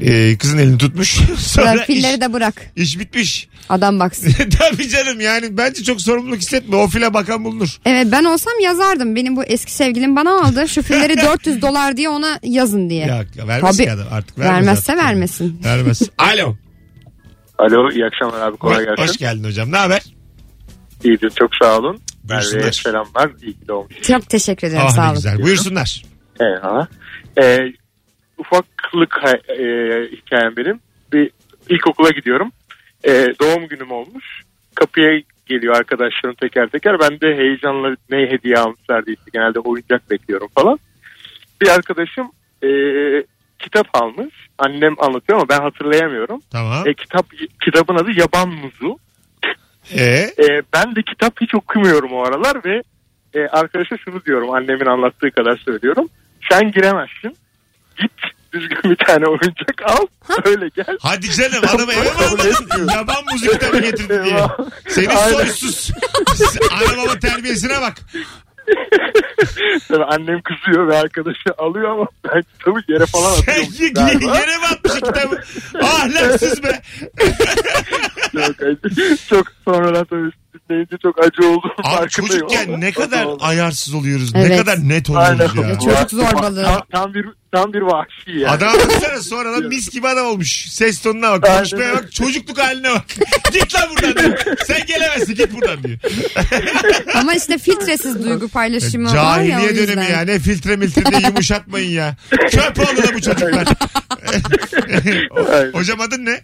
[SPEAKER 2] E, kızın elini tutmuş. Sonra
[SPEAKER 3] Bırak, filleri
[SPEAKER 2] iş,
[SPEAKER 3] de bırak.
[SPEAKER 2] iş bitmiş.
[SPEAKER 3] Adam baksın.
[SPEAKER 2] Tabii canım yani bence çok sorumluluk hissetme. O file bakan bulunur.
[SPEAKER 3] Evet ben olsam yazardım. Benim bu eski sevgilim bana aldı. Şu filleri 400 dolar diye ona yazın diye.
[SPEAKER 2] Ya, ya vermez
[SPEAKER 3] Tabii.
[SPEAKER 2] ki adam artık. vermez
[SPEAKER 3] Vermezse
[SPEAKER 2] artık.
[SPEAKER 3] vermesin.
[SPEAKER 2] Vermez. Alo.
[SPEAKER 4] Alo iyi akşamlar abi kolay gelsin.
[SPEAKER 2] Hoş geldin hocam. Ne haber?
[SPEAKER 4] İyidir çok sağ olun.
[SPEAKER 2] Buyursunlar.
[SPEAKER 4] Merve'ye selamlar. İyi ki doğmuş.
[SPEAKER 3] Çok teşekkür ederim
[SPEAKER 2] Ah
[SPEAKER 3] sağ
[SPEAKER 2] ne
[SPEAKER 3] olun.
[SPEAKER 2] güzel. Buyursunlar.
[SPEAKER 4] Eyvallah. Ee, ufaklık ha- e, hikayem benim. Bir ilkokula gidiyorum. Ee, doğum günüm olmuş. Kapıya geliyor arkadaşlarım teker teker. Ben de heyecanla ne hediye almışlar diye işte genelde oyuncak bekliyorum falan. Bir arkadaşım e, kitap almış. Annem anlatıyor ama ben hatırlayamıyorum.
[SPEAKER 2] Tamam.
[SPEAKER 4] E, kitap kitabın adı Yaban Muzu.
[SPEAKER 2] Ee,
[SPEAKER 4] E, ben de kitap hiç okumuyorum o aralar ve e, arkadaşa şunu diyorum annemin anlattığı kadar söylüyorum. Sen giremezsin. Git düzgün bir tane oyuncak al öyle gel.
[SPEAKER 2] hadi canım adamı eve mi almadın? Yaban müzik kitabı getirdin diye.
[SPEAKER 4] Eyvah.
[SPEAKER 2] Senin
[SPEAKER 4] Aynen.
[SPEAKER 2] soysuz. Ana baba terbiyesine bak.
[SPEAKER 4] Tabii annem kızıyor ve arkadaşı alıyor ama ben kitabı yere falan
[SPEAKER 2] Sen
[SPEAKER 4] atıyorum.
[SPEAKER 2] y- yere mi atmış kitabı? Ahlaksız be.
[SPEAKER 4] çok, acı. çok sonradan tabii dinleyince çok acı oldum.
[SPEAKER 2] Abi
[SPEAKER 4] farkındayım ama-
[SPEAKER 2] çocukken ne kadar
[SPEAKER 4] Oldu.
[SPEAKER 2] ayarsız oluyoruz. Ne
[SPEAKER 3] Evet.
[SPEAKER 2] kadar net
[SPEAKER 4] Aynen.
[SPEAKER 2] oluyoruz ya.
[SPEAKER 3] Çocuk zorbalığı.
[SPEAKER 4] Tam, tam bir tam bir vahşi yani.
[SPEAKER 2] Adam baksana sonradan mis gibi adam olmuş. Ses tonuna bak, konuşmaya
[SPEAKER 4] Aynen.
[SPEAKER 2] bak, çocukluk haline bak. git lan buradan diyor. Sen gelemezsin git buradan diyor.
[SPEAKER 3] Ama işte filtresiz duygu paylaşımı var ya o
[SPEAKER 2] Cahiliye
[SPEAKER 3] yüzden.
[SPEAKER 2] E, dönemi ya. Ne filtre miltre de yumuşatmayın ya. Çöp oldu da bu çocuklar.
[SPEAKER 4] Aynen.
[SPEAKER 2] Hocam adın ne?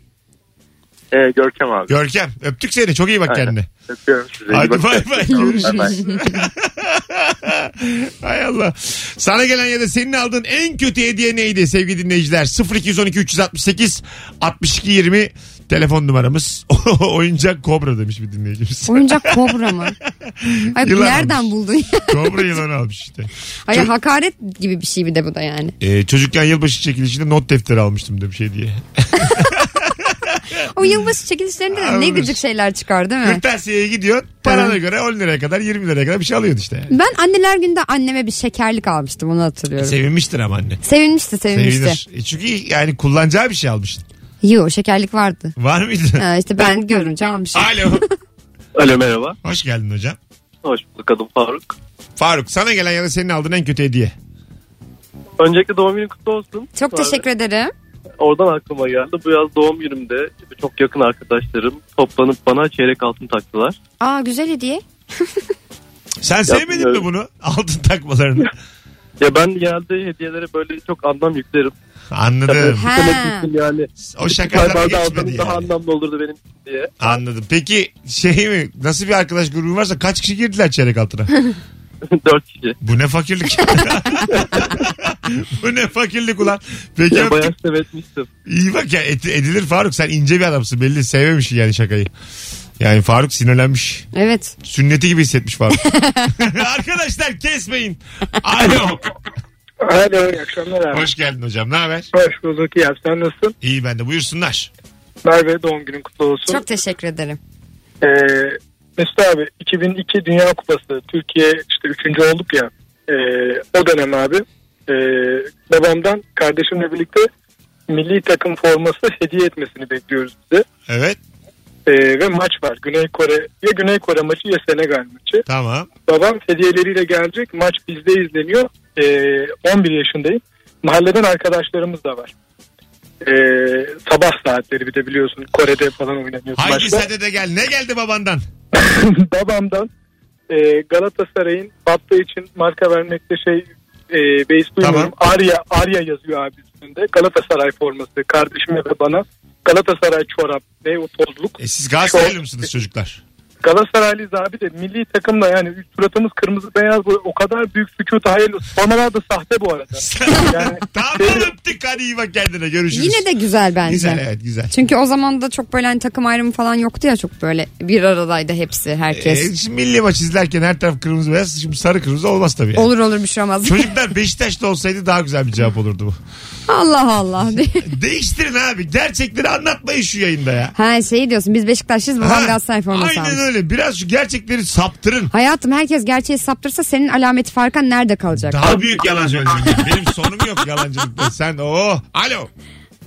[SPEAKER 4] Ee, Görkem abi.
[SPEAKER 2] Görkem. Öptük seni. Çok iyi bak
[SPEAKER 4] Aynen.
[SPEAKER 2] kendine.
[SPEAKER 4] Öpüyorum sizi. İyi
[SPEAKER 2] Hadi
[SPEAKER 4] bakın.
[SPEAKER 2] bay bay.
[SPEAKER 4] Tamam,
[SPEAKER 2] Görüşürüz.
[SPEAKER 4] bay.
[SPEAKER 2] Hay Allah. Sana gelen ya da senin aldığın en kötü hediye neydi sevgili dinleyiciler? 0212 368 62 20 telefon numaramız. Oyuncak kobra demiş bir dinleyicimiz.
[SPEAKER 3] Oyuncak kobra mı? Ay, bu
[SPEAKER 2] Yılan
[SPEAKER 3] nereden
[SPEAKER 2] almış.
[SPEAKER 3] buldun ya?
[SPEAKER 2] kobra yılan almış işte.
[SPEAKER 3] Ay
[SPEAKER 2] Çok-
[SPEAKER 3] hakaret gibi bir şey bir de bu da yani.
[SPEAKER 2] Ee, çocukken yılbaşı çekilişinde not defteri almıştım şey demiş hediye.
[SPEAKER 3] O yılbaşı çekilişlerinde de ne
[SPEAKER 2] Almış.
[SPEAKER 3] gıcık şeyler çıkar değil mi?
[SPEAKER 2] Kırtasiyeye gidiyorsun. Parana göre 10 liraya kadar 20 liraya kadar bir şey alıyorsun işte.
[SPEAKER 3] Ben anneler günde anneme bir şekerlik almıştım onu hatırlıyorum.
[SPEAKER 2] Sevinmiştir ama anne.
[SPEAKER 3] sevinmişti sevinmişti.
[SPEAKER 2] Sevinir. E çünkü yani kullanacağı bir şey almışsın.
[SPEAKER 3] Yo şekerlik vardı.
[SPEAKER 2] Var mıydı?
[SPEAKER 3] Ha, işte ben görünce almışım.
[SPEAKER 2] Alo.
[SPEAKER 7] Alo merhaba.
[SPEAKER 2] Hoş geldin hocam.
[SPEAKER 7] Hoş bulduk adım Faruk.
[SPEAKER 2] Faruk sana gelen ya da senin aldığın en kötü hediye.
[SPEAKER 7] Öncelikle doğum günün kutlu olsun.
[SPEAKER 3] Çok teşekkür ederim.
[SPEAKER 7] Oradan aklıma geldi. Bu yaz doğum günümde çok yakın arkadaşlarım toplanıp bana çeyrek altın taktılar.
[SPEAKER 3] Aa güzel hediye.
[SPEAKER 2] Sen sevmedin mi
[SPEAKER 7] evet.
[SPEAKER 2] bunu? Altın takmalarını.
[SPEAKER 7] Ya ben genelde hediyelere böyle çok anlam yüklerim.
[SPEAKER 2] Anladım.
[SPEAKER 3] Ha.
[SPEAKER 7] Demek ki yani.
[SPEAKER 2] O
[SPEAKER 7] Galiba
[SPEAKER 2] şakalar
[SPEAKER 7] da
[SPEAKER 2] geçmedi
[SPEAKER 7] aldığınız daha
[SPEAKER 2] yani.
[SPEAKER 7] anlamlı olurdu benim için diye.
[SPEAKER 2] Anladım. Peki şey mi? Nasıl bir arkadaş grubun varsa kaç kişi girdiler çeyrek altına?
[SPEAKER 7] Dört kişi.
[SPEAKER 2] Bu ne fakirlik? Bu ne fakirlik ulan? Peki
[SPEAKER 7] Ya
[SPEAKER 2] öptük.
[SPEAKER 7] bayağı sevetmiştim.
[SPEAKER 2] İyi bak ya et- edilir Faruk sen ince bir adamsın belli sevmemişsin yani şakayı. Yani Faruk sinirlenmiş.
[SPEAKER 3] Evet.
[SPEAKER 2] Sünneti gibi hissetmiş Faruk. Arkadaşlar kesmeyin. Alo.
[SPEAKER 6] Alo iyi akşamlar abi.
[SPEAKER 2] Hoş geldin hocam ne haber?
[SPEAKER 6] Hoş bulduk iyi abi sen nasılsın?
[SPEAKER 2] İyi ben de buyursunlar.
[SPEAKER 6] Merve doğum günün kutlu olsun.
[SPEAKER 3] Çok teşekkür ederim.
[SPEAKER 6] Ee, Mesut abi 2002 Dünya Kupası Türkiye işte üçüncü olduk ya Ee, o dönem abi ee, babamdan kardeşimle birlikte milli takım forması hediye etmesini bekliyoruz bize.
[SPEAKER 2] Evet
[SPEAKER 6] Ee, ve maç var Güney Kore ya Güney Kore maçı ya Senegal maçı.
[SPEAKER 2] tamam.
[SPEAKER 6] Babam hediyeleriyle gelecek maç bizde izleniyor Ee, 11 yaşındayım mahalleden arkadaşlarımız da var. Ee, sabah saatleri bir de biliyorsun Kore'de falan oynanıyor.
[SPEAKER 2] Hangi
[SPEAKER 6] maçlar.
[SPEAKER 2] sade de gel ne geldi babandan?
[SPEAKER 6] babamdan e, Galatasaray'ın battığı için marka vermekte şey e, beis duymuyorum. Arya, Arya yazıyor abi üstünde. Galatasaray forması kardeşime ve bana. Galatasaray çorap ve o tozluk.
[SPEAKER 2] E siz Galatasaraylı mısınız çocuklar?
[SPEAKER 6] Galatasaraylıyız abi de milli takımla yani üst suratımız kırmızı beyaz bu o kadar büyük sükut hayal. Sonralar da sahte bu arada. Yani
[SPEAKER 2] tamam
[SPEAKER 6] şey-
[SPEAKER 2] öptük Hadi iyi bak kendine görüşürüz.
[SPEAKER 3] Yine de güzel bence.
[SPEAKER 2] Güzel evet güzel.
[SPEAKER 3] Çünkü o zaman da çok böyle hani takım ayrımı falan yoktu ya çok böyle bir aradaydı hepsi herkes.
[SPEAKER 2] Ee, şimdi milli maç izlerken her taraf kırmızı beyaz. Şimdi sarı kırmızı olmaz tabii. yani.
[SPEAKER 3] olur olur bir şey olmaz.
[SPEAKER 2] Çocuklar Beşiktaş'ta olsaydı daha güzel bir cevap olurdu bu.
[SPEAKER 3] Allah Allah.
[SPEAKER 2] Şey- Değiştirin abi. Gerçekleri anlatmayın şu yayında ya.
[SPEAKER 3] ha şey diyorsun biz Beşiktaşlıyız babam
[SPEAKER 2] Ha,
[SPEAKER 3] Galatasaray forması
[SPEAKER 2] Aynen
[SPEAKER 3] almış.
[SPEAKER 2] öyle. Biraz şu gerçekleri saptırın.
[SPEAKER 3] Hayatım herkes gerçeği saptırsa senin alameti farkan nerede kalacak?
[SPEAKER 2] Daha büyük yalan söyledim. Benim sonum yok yalancılıkta. Sen o. Alo.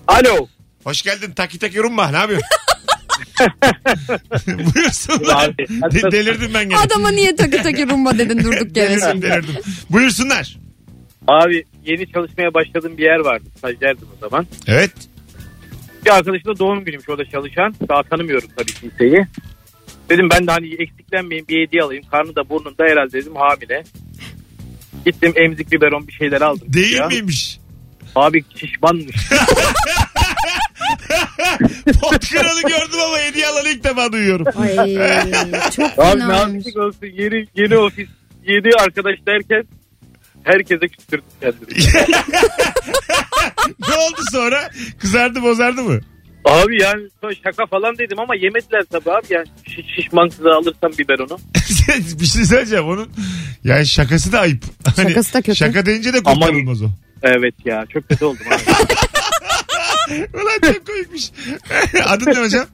[SPEAKER 6] Alo.
[SPEAKER 2] Hoş geldin. Taki tak yorumma. Ne yapıyorsun? Buyursunlar.
[SPEAKER 6] Abi,
[SPEAKER 2] De- delirdim ben gene.
[SPEAKER 3] Adama niye takı takı rumba dedin durduk yere
[SPEAKER 2] delirdim
[SPEAKER 3] şimdi.
[SPEAKER 2] delirdim. Buyursunlar.
[SPEAKER 6] Abi yeni çalışmaya başladığım bir yer vardı. Stajyerdim o zaman.
[SPEAKER 2] Evet.
[SPEAKER 6] Bir arkadaşım da doğum günüymüş orada çalışan. Daha tanımıyorum tabii kimseyi. Dedim ben de hani eksiklenmeyeyim bir hediye alayım. Karnı da burnunda herhalde dedim hamile. Gittim emzik biberon bir şeyler aldım.
[SPEAKER 2] Değil
[SPEAKER 6] Ya.
[SPEAKER 2] miymiş?
[SPEAKER 6] Abi şişmanmış.
[SPEAKER 2] Pot kralı gördüm ama hediye alanı ilk defa duyuyorum.
[SPEAKER 3] Ay çok
[SPEAKER 6] Abi ne
[SPEAKER 3] fenaymış.
[SPEAKER 6] yaptık olsun yeni, yeni ofis yeni arkadaş derken herkese küstürdüm kendimi.
[SPEAKER 2] ne oldu sonra? Kızardı bozardı mı?
[SPEAKER 6] Abi yani sonra şaka falan dedim ama yemediler tabii abi. Yani şiş, şişman kızı alırsam biberonu.
[SPEAKER 2] bir şey söyleyeceğim onun. Yani şakası da ayıp. Hani
[SPEAKER 3] Şakası da kötü.
[SPEAKER 2] Şaka deyince de
[SPEAKER 6] Ama-
[SPEAKER 2] kurtarılmaz o.
[SPEAKER 6] Evet ya çok kötü oldum abi.
[SPEAKER 2] Ulan çok komikmiş. Adın ne hocam?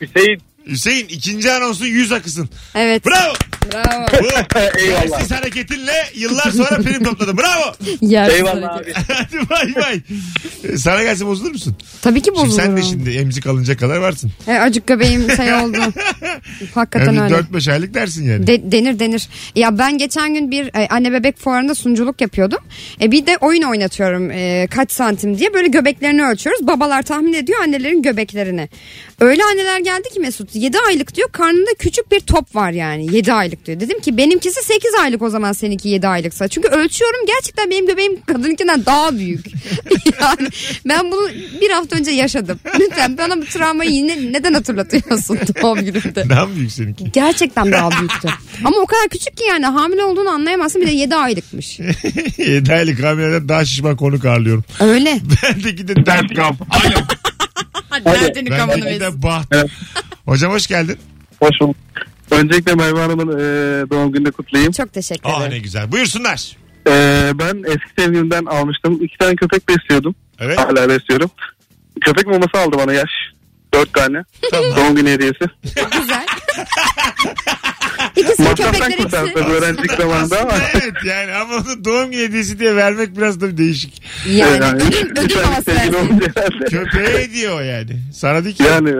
[SPEAKER 6] Hüseyin
[SPEAKER 2] Hüseyin ikinci anonsun yüz akısın.
[SPEAKER 3] Evet
[SPEAKER 2] Bravo.
[SPEAKER 3] bravo.
[SPEAKER 2] Bu Eyvallah. hareketinle yıllar sonra prim topladı. Bravo.
[SPEAKER 3] Yer
[SPEAKER 6] eyvallah abi.
[SPEAKER 2] Hadi bay bay. Ee, Sana gelse bozulur musun?
[SPEAKER 3] Tabii ki
[SPEAKER 2] Şimdi
[SPEAKER 3] bozulurum.
[SPEAKER 2] sen de şimdi emzik alınacak kadar varsın.
[SPEAKER 3] He, acık göbeğim şey oldu. Hakikaten
[SPEAKER 2] Yani
[SPEAKER 3] öyle.
[SPEAKER 2] 4-5 aylık dersin yani.
[SPEAKER 3] De- denir denir. Ya ben geçen gün bir e, anne bebek fuarında sunuculuk yapıyordum. E, bir de oyun oynatıyorum e, kaç santim diye böyle göbeklerini ölçüyoruz. Babalar tahmin ediyor annelerin göbeklerini. Öyle anneler geldi ki Mesut 7 aylık diyor karnında küçük bir top var yani 7 aylık diyor. Dedim ki benimkisi 8 aylık o zaman seninki 7 aylıksa. Çünkü ölçüyorum gerçekten benim göbeğim kadınkinden daha büyük. yani ben bunu bir hafta önce yaşadım. Lütfen bana bu travmayı yine neden hatırlatıyorsun doğum günümde?
[SPEAKER 2] Daha mı büyük seninki?
[SPEAKER 3] Gerçekten daha büyüktü. Ama o kadar küçük ki yani hamile olduğunu anlayamazsın bir de 7 aylıkmış.
[SPEAKER 2] 7 aylık hamileden daha şişman konuk ağırlıyorum.
[SPEAKER 3] Öyle.
[SPEAKER 2] Bendeki de dert kamp. Alo.
[SPEAKER 3] Derdini
[SPEAKER 2] Bendeki de baht. Hocam hoş geldin.
[SPEAKER 7] Hoş bulduk. Öncelikle Merve Hanım'ın doğum gününü kutlayayım.
[SPEAKER 3] Çok teşekkür
[SPEAKER 2] Aa
[SPEAKER 3] ederim.
[SPEAKER 2] ne güzel. Buyursunlar.
[SPEAKER 7] Ee, ben eski sevgilimden almıştım. İki tane köpek besliyordum.
[SPEAKER 2] Evet.
[SPEAKER 7] Hala besliyorum. Köpek maması aldı bana yaş. Dört tane.
[SPEAKER 2] Tamam.
[SPEAKER 7] Doğum günü hediyesi.
[SPEAKER 3] Güzel. İkisi de
[SPEAKER 7] Masraftan
[SPEAKER 3] köpekler
[SPEAKER 7] kurtardı
[SPEAKER 3] ikisi.
[SPEAKER 7] öğrencilik zamanında ama.
[SPEAKER 2] Aslında evet yani ama onun doğum günü hediyesi diye vermek biraz da değişik.
[SPEAKER 3] Yani ödül,
[SPEAKER 7] Bir
[SPEAKER 3] ödül
[SPEAKER 7] tane
[SPEAKER 3] havası versin.
[SPEAKER 7] sevgili olunca herhalde.
[SPEAKER 2] Köpeğe hediye o yani. Sana değil ki.
[SPEAKER 7] Yani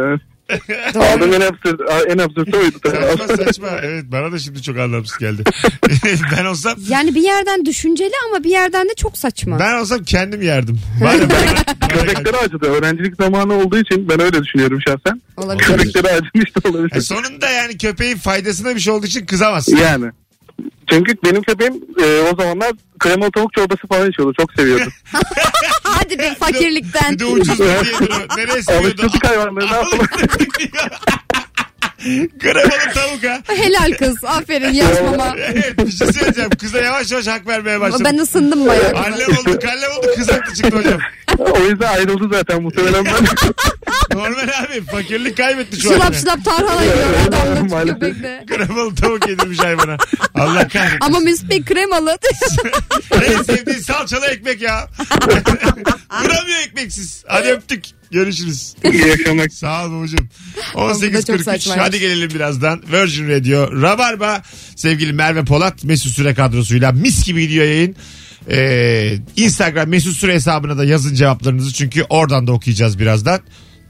[SPEAKER 7] e, aldığım en absürt, en absürt oydu.
[SPEAKER 2] Saçma saçma. Evet bana da şimdi çok anlamsız geldi. ben olsam
[SPEAKER 3] Yani bir yerden düşünceli ama bir yerden de çok saçma.
[SPEAKER 2] ben olsam kendim yerdim. Bana, bana- bana geldi.
[SPEAKER 7] Köpekleri acıdı. Öğrencilik zamanı olduğu için ben öyle düşünüyorum şahsen.
[SPEAKER 3] Olabilir.
[SPEAKER 7] Köpekleri acımış da
[SPEAKER 2] E,
[SPEAKER 7] olabilir.
[SPEAKER 2] sonunda yani köpeğin faydasına bir şey olduğu için kızamazsın.
[SPEAKER 7] Yani. Çünkü benim köpeğim e, o zamanlar kremalı tavuk çorbası falan içiyordu. Çok seviyordu.
[SPEAKER 3] Hadi be
[SPEAKER 2] Bir
[SPEAKER 3] fakirlikten.
[SPEAKER 2] de ucuz bir hediyedir o. Nereye seviyordu?
[SPEAKER 7] Alıştırdık hayvanları. Ne yapalım?
[SPEAKER 2] Kremalı tavuk ha.
[SPEAKER 3] Helal kız. Aferin yarışmama.
[SPEAKER 2] Evet bir şey söyleyeceğim. Kıza yavaş yavaş hak vermeye başladım.
[SPEAKER 3] Ben ısındım bayağı.
[SPEAKER 2] Annem oldu, kallem oldu, kız haklı çıktı hocam.
[SPEAKER 7] o yüzden ayrıldı zaten muhtemelen ben.
[SPEAKER 2] Normal abi, fakirlik kaybetti şu an.
[SPEAKER 3] Şılap şılap tarhana yiyor adam da
[SPEAKER 7] Maalesef.
[SPEAKER 3] köpekle.
[SPEAKER 2] Kremalı tavuk yedirmiş hayvana. Allah kahretsin.
[SPEAKER 3] Ama Mesut Bey kremalı.
[SPEAKER 2] En sevdiğin salçalı ekmek ya. Duramıyor ekmeksiz. Hadi öptük. Görüşürüz.
[SPEAKER 7] İyi akşamlar.
[SPEAKER 2] Sağ olun hocam.
[SPEAKER 3] Bu da çok
[SPEAKER 2] 18.43
[SPEAKER 3] saçmaymış.
[SPEAKER 2] hadi gelelim birazdan. Virgin Radio Rabarba sevgili Merve Polat Mesut Süre kadrosuyla mis gibi gidiyor yayın. Ee, Instagram Mesut Süre hesabına da yazın cevaplarınızı çünkü oradan da okuyacağız birazdan.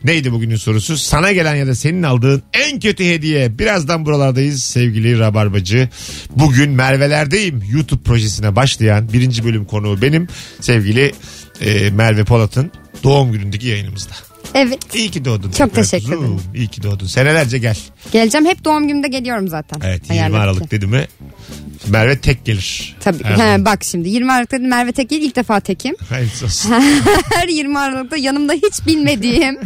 [SPEAKER 2] Neydi bugünün sorusu? Sana gelen ya da senin aldığın en kötü hediye. Birazdan buralardayız sevgili Rabarbacı. Bugün Merve'lerdeyim YouTube projesine başlayan birinci bölüm konuğu benim sevgili e, Merve Polat'ın doğum günündeki yayınımızda.
[SPEAKER 3] evet.
[SPEAKER 2] İyi ki doğdun.
[SPEAKER 3] Çok
[SPEAKER 2] tekrar
[SPEAKER 3] teşekkür
[SPEAKER 2] kuzum.
[SPEAKER 3] ederim.
[SPEAKER 2] İyi ki doğdun. Senelerce gel.
[SPEAKER 3] Geleceğim hep doğum günümde geliyorum zaten.
[SPEAKER 2] Evet 20
[SPEAKER 3] Ayarladık
[SPEAKER 2] Aralık
[SPEAKER 3] ki.
[SPEAKER 2] dedi mi Merve tek gelir.
[SPEAKER 3] Tabii.
[SPEAKER 2] Her
[SPEAKER 3] He,
[SPEAKER 2] zaman.
[SPEAKER 3] bak şimdi 20 Aralık'ta dedim Merve Tekin ilk defa tekim.
[SPEAKER 2] Hayırlısı olsun.
[SPEAKER 3] Her 20 Aralık'ta yanımda hiç bilmediğim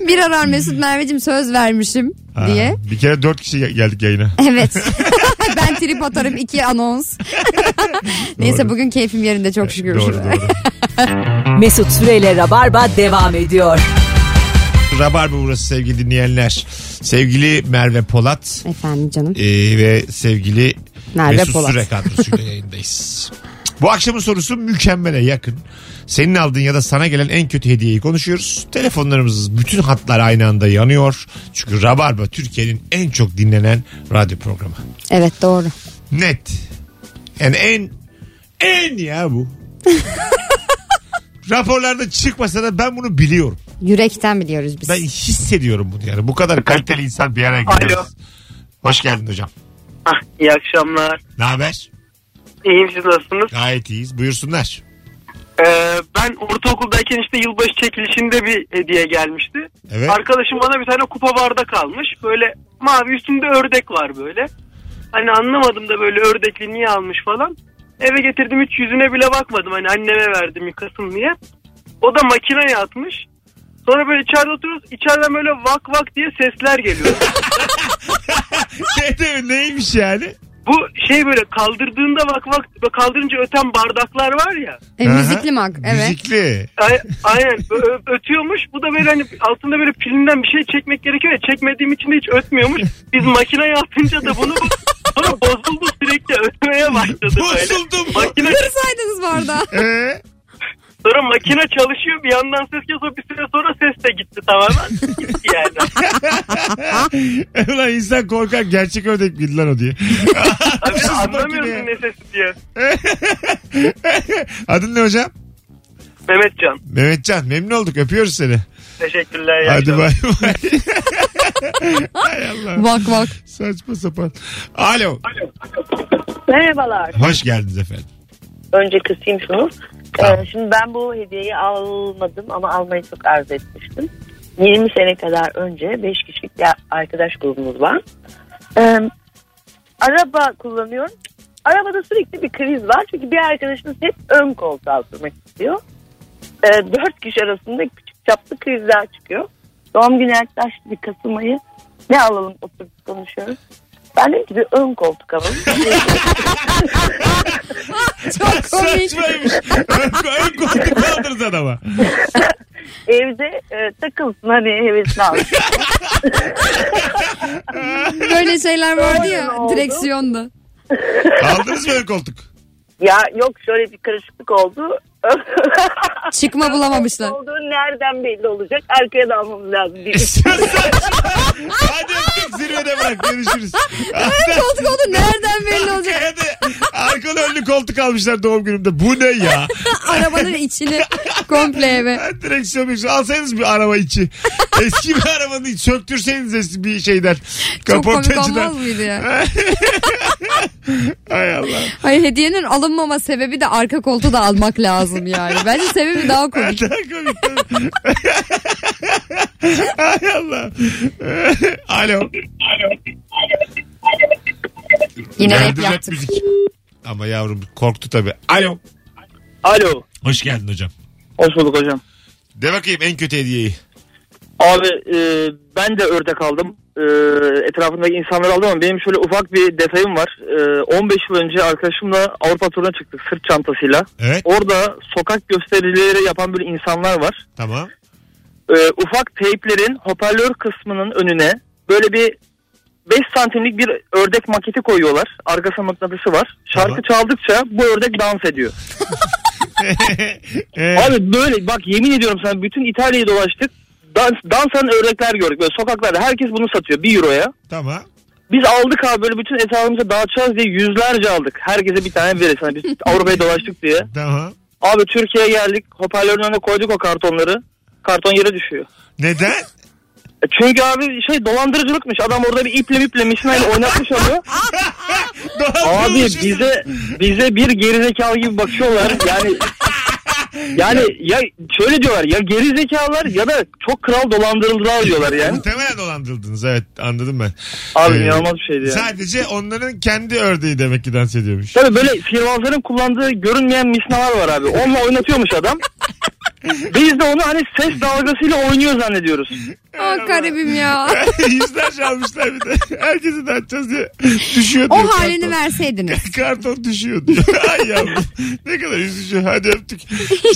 [SPEAKER 3] bir arar Mesut Merve'cim söz vermişim
[SPEAKER 2] Ha,
[SPEAKER 3] diye.
[SPEAKER 2] Bir kere dört kişi gel- geldik yayına.
[SPEAKER 3] Evet. ben trip atarım iki anons. Neyse bugün keyfim yerinde çok şükür.
[SPEAKER 2] Doğru doğru.
[SPEAKER 1] Mesut Süreyle Rabarba devam ediyor.
[SPEAKER 2] Rabarba burası sevgili dinleyenler. Sevgili Merve Polat
[SPEAKER 3] Efendim canım.
[SPEAKER 2] e, ve sevgili
[SPEAKER 3] Merve
[SPEAKER 2] Mesut
[SPEAKER 3] Polat.
[SPEAKER 2] Süre kadrosuyla yayındayız. Bu akşamın sorusu mükemmele yakın. Senin aldığın ya da sana gelen en kötü hediyeyi konuşuyoruz. Telefonlarımız bütün hatlar aynı anda yanıyor. Çünkü Rabarba Türkiye'nin en çok dinlenen radyo programı.
[SPEAKER 3] Evet doğru.
[SPEAKER 2] Net. Yani en en ya bu. Raporlarda çıkmasa da ben bunu biliyorum.
[SPEAKER 3] Yürekten biliyoruz biz.
[SPEAKER 2] Ben hissediyorum bunu yani. Bu kadar kaliteli insan bir araya geliyor.
[SPEAKER 7] Alo.
[SPEAKER 2] Hoş geldin hocam.
[SPEAKER 7] Ah, iyi akşamlar.
[SPEAKER 2] Ne haber?
[SPEAKER 7] İyiyim siz nasılsınız?
[SPEAKER 2] Gayet iyiyiz. Buyursunlar.
[SPEAKER 7] Ee, ben ortaokuldayken işte yılbaşı çekilişinde bir hediye gelmişti.
[SPEAKER 2] Evet.
[SPEAKER 7] Arkadaşım bana bir tane kupa bardak almış. Böyle mavi üstünde ördek var böyle. Hani anlamadım da böyle ördekli niye almış falan. Eve getirdim hiç yüzüne bile bakmadım. Hani anneme verdim yıkasın diye. O da makineye atmış. Sonra böyle içeride oturuyoruz. İçeriden böyle vak vak diye sesler geliyor.
[SPEAKER 2] Şey değil mi? Neymiş yani?
[SPEAKER 7] Bu şey böyle kaldırdığında vak vak kaldırınca öten bardaklar var ya.
[SPEAKER 3] E,
[SPEAKER 2] Aha.
[SPEAKER 3] müzikli mag. Evet.
[SPEAKER 2] Müzikli.
[SPEAKER 7] Ay- Aynen Ö- ö- ötüyormuş. Bu da böyle hani altında böyle pilinden bir şey çekmek gerekiyor ya. Çekmediğim için de hiç ötmüyormuş. Biz makineye atınca da bunu sonra bozuldu sürekli ötmeye başladı böyle.
[SPEAKER 2] Bozuldum.
[SPEAKER 7] Makine,
[SPEAKER 3] Kırsaydınız bu arada.
[SPEAKER 2] Ee,
[SPEAKER 7] sonra makine çalışıyor bir yandan ses geliyor bir süre sonra ses de gitti tamamen. Gitti yani.
[SPEAKER 2] ulan insan korkar gerçek ördek miydi lan o diye.
[SPEAKER 7] Abi
[SPEAKER 2] Sus
[SPEAKER 7] anlamıyorsun
[SPEAKER 2] makine.
[SPEAKER 7] ne sesi diye.
[SPEAKER 2] Adın ne hocam?
[SPEAKER 7] Mehmetcan
[SPEAKER 2] Mehmetcan memnun olduk öpüyoruz seni.
[SPEAKER 7] teşekkürler. iyi
[SPEAKER 2] Hadi
[SPEAKER 7] akşamlar.
[SPEAKER 2] bay bay. Hay Allah
[SPEAKER 3] Vak vak.
[SPEAKER 2] saçma sapan. Alo
[SPEAKER 10] Merhabalar.
[SPEAKER 2] hoş geldiniz efendim.
[SPEAKER 10] Önce kısayım şunu. Ee,
[SPEAKER 2] Tamam.
[SPEAKER 10] şimdi ben bu hediyeyi almadım ama almayı çok arzu etmiştim. 20 sene kadar önce 5 kişilik bir arkadaş grubumuz var. Ee, araba kullanıyorum. Arabada sürekli bir kriz var. Çünkü bir arkadaşımız hep ön koltuğa oturmak istiyor. Ee, dört kişi arasında küçük çaplı krizler çıkıyor. Doğum günü yaklaştı bir Kasım ayı. Ne alalım oturup konuşuyoruz. Ben dedim ki bir ön koltuk alalım.
[SPEAKER 3] Çok komik.
[SPEAKER 2] Saçmaymış. ön, ön koltuk kaldırız adama.
[SPEAKER 10] evde e, takılsın hani hevesini alsın.
[SPEAKER 3] Böyle şeyler vardı ya
[SPEAKER 10] Öyle oldu.
[SPEAKER 3] direksiyonda.
[SPEAKER 2] Aldınız mı ön koltuk?
[SPEAKER 10] ya yok şöyle bir karışıklık oldu.
[SPEAKER 3] Çıkma bulamamışlar.
[SPEAKER 10] Olduğu nereden belli olacak? Arkaya da almamız lazım. diye.
[SPEAKER 2] Hadi öptük zirvede bırak görüşürüz.
[SPEAKER 3] Ön koltuk oldu nereden belli olacak?
[SPEAKER 2] Hadi arkalı önlü koltuk almışlar doğum günümde. Bu ne ya?
[SPEAKER 3] Arabanın içini komple eve.
[SPEAKER 2] Ben direksiyon bir alsaydınız bir araba içi. Eski bir arabanın içi söktürseniz eski bir şeyden.
[SPEAKER 3] Çok komik olmaz
[SPEAKER 2] Kaportacıdan.
[SPEAKER 3] mıydı ya?
[SPEAKER 2] Hay Allah.
[SPEAKER 3] Hayır hediyenin alınmama sebebi de arka koltuğu da almak lazım yani. Bence sebebi daha komik.
[SPEAKER 2] Daha komik tabii. Hay Allah. Alo.
[SPEAKER 3] Yine hep
[SPEAKER 2] Geldi rap
[SPEAKER 3] yaptık.
[SPEAKER 2] müzik. Ama yavrum korktu tabii. Alo.
[SPEAKER 11] Alo.
[SPEAKER 2] Hoş geldin hocam.
[SPEAKER 11] Hoş bulduk hocam.
[SPEAKER 2] De bakayım en kötü hediyeyi.
[SPEAKER 11] Abi e, ben de ördek aldım. E, etrafındaki insanları aldım ama benim şöyle ufak bir detayım var. E, 15 yıl önce arkadaşımla Avrupa turuna çıktık sırt çantasıyla.
[SPEAKER 2] Evet
[SPEAKER 11] Orada sokak gösterileri yapan böyle insanlar var.
[SPEAKER 2] tamam.
[SPEAKER 11] E, ufak teyplerin hoparlör kısmının önüne böyle bir 5 santimlik bir ördek maketi koyuyorlar. Arkasına mıknatısı var. Şarkı çaldıkça bu ördek dans ediyor.
[SPEAKER 2] Ee,
[SPEAKER 11] Abi böyle bak yemin ediyorum sana bütün İtalya'yı dolaştık. Dans, dansan ördekler gördük. Böyle sokaklarda herkes bunu satıyor 1 euroya.
[SPEAKER 2] tamam.
[SPEAKER 11] Biz aldık abi böyle bütün etrafımıza dağıtacağız diye yüzlerce aldık. Herkese bir tane verir sana biz Avrupa'ya dolaştık diye.
[SPEAKER 2] Tamam.
[SPEAKER 11] Abi Türkiye'ye geldik hoparlörün önüne koyduk o kartonları. Karton yere düşüyor.
[SPEAKER 2] Neden?
[SPEAKER 11] E Çünkü abi şey dolandırıcılıkmış. Adam orada bir iple miple misinayle oynatmış onu. Abi şey
[SPEAKER 2] Dolandırılmışız.
[SPEAKER 11] bize bize bir gerizekalı gibi bakıyorlar. Yani yani ya şöyle diyorlar ya gerizekalılar ya da çok kral dolandırıldılar diyorlar yani.
[SPEAKER 2] Muhtemelen dolandırıldınız evet anladım ben.
[SPEAKER 11] Abi
[SPEAKER 2] Ee,
[SPEAKER 11] inanılmaz bir şey şeydi yani.
[SPEAKER 2] Sadece onların kendi ördeği demek ki dans ediyormuş.
[SPEAKER 11] Tabii böyle sihirbazların kullandığı görünmeyen misnalar var abi. Onunla oynatıyormuş adam. Biz de onu hani ses dalgasıyla oynuyor zannediyoruz.
[SPEAKER 3] Ah garibim ya.
[SPEAKER 2] Yüzlerce almışlar bir de. Herkesi de açacağız diye. Düşüyor diyor.
[SPEAKER 3] O halini
[SPEAKER 2] karton.
[SPEAKER 3] verseydiniz.
[SPEAKER 2] Karton düşüyor diyor. Ay yavrum. Ne kadar üzücü. Hadi öptük.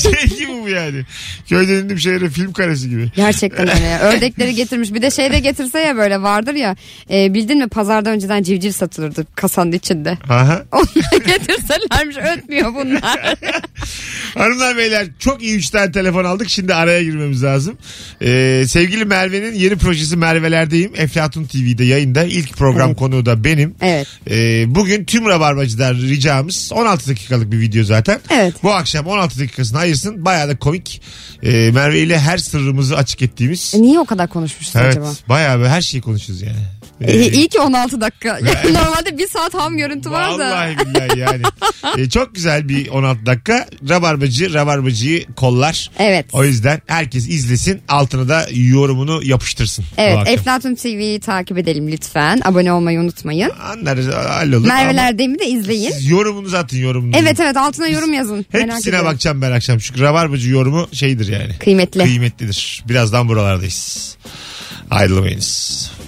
[SPEAKER 2] Şey gibi bu yani. Köyden indim şehre film karesi gibi.
[SPEAKER 3] Gerçekten öyle. ya. Ördekleri getirmiş. Bir de şey de getirse ya böyle vardır ya. E, bildin mi pazarda önceden civciv satılırdı kasanın içinde.
[SPEAKER 2] Aha.
[SPEAKER 3] Onları getirselermiş ötmüyor bunlar.
[SPEAKER 2] Hanımlar beyler çok iyi 3 tane telefon aldık. Şimdi araya girmemiz lazım. Ee, sevgili Merve'nin yeni projesi Merve'lerdeyim. Eflatun TV'de yayında. İlk program konuğu da benim.
[SPEAKER 3] Evet.
[SPEAKER 2] Ee, bugün tüm rabarbacılar ricamız 16 dakikalık bir video zaten.
[SPEAKER 3] Evet.
[SPEAKER 2] Bu akşam 16 dakikasını ayırsın. Bayağı da komik. Ee, Merve ile her sırrımızı açık ettiğimiz.
[SPEAKER 3] E, Niye o kadar konuşmuşuz
[SPEAKER 2] Evet.
[SPEAKER 3] acaba?
[SPEAKER 2] Bayağı böyle her şeyi konuşuruz yani.
[SPEAKER 3] E,
[SPEAKER 2] Ee,
[SPEAKER 3] iyi ki 16 dakika. Normalde bir saat ham görüntü var da.
[SPEAKER 2] Vallahi billahi yani. Ee, çok güzel bir 16 dakika. Rabarbacı, rabarbacıyı kollar.
[SPEAKER 3] Evet.
[SPEAKER 2] O yüzden herkes izlesin. Altına da yorumunu yapıştırsın. bu
[SPEAKER 3] Evet,
[SPEAKER 2] akşam.
[SPEAKER 3] Eflatun TV'yi takip edelim lütfen. Abone olmayı unutmayın.
[SPEAKER 2] Anlarız hallolur. Ama
[SPEAKER 3] Merveler Demi de izleyin.
[SPEAKER 2] siz yorumunuzu atın yorumunuzu.
[SPEAKER 3] Evet evet altına yorum yazın. Merak
[SPEAKER 2] Hepsine
[SPEAKER 3] ediyorum.
[SPEAKER 2] bakacağım ben akşam. Çünkü rabarbacı yorumu şeydir yani.
[SPEAKER 3] Kıymetli.
[SPEAKER 2] Kıymetlidir. Birazdan buralardayız. Ayrılmayınız.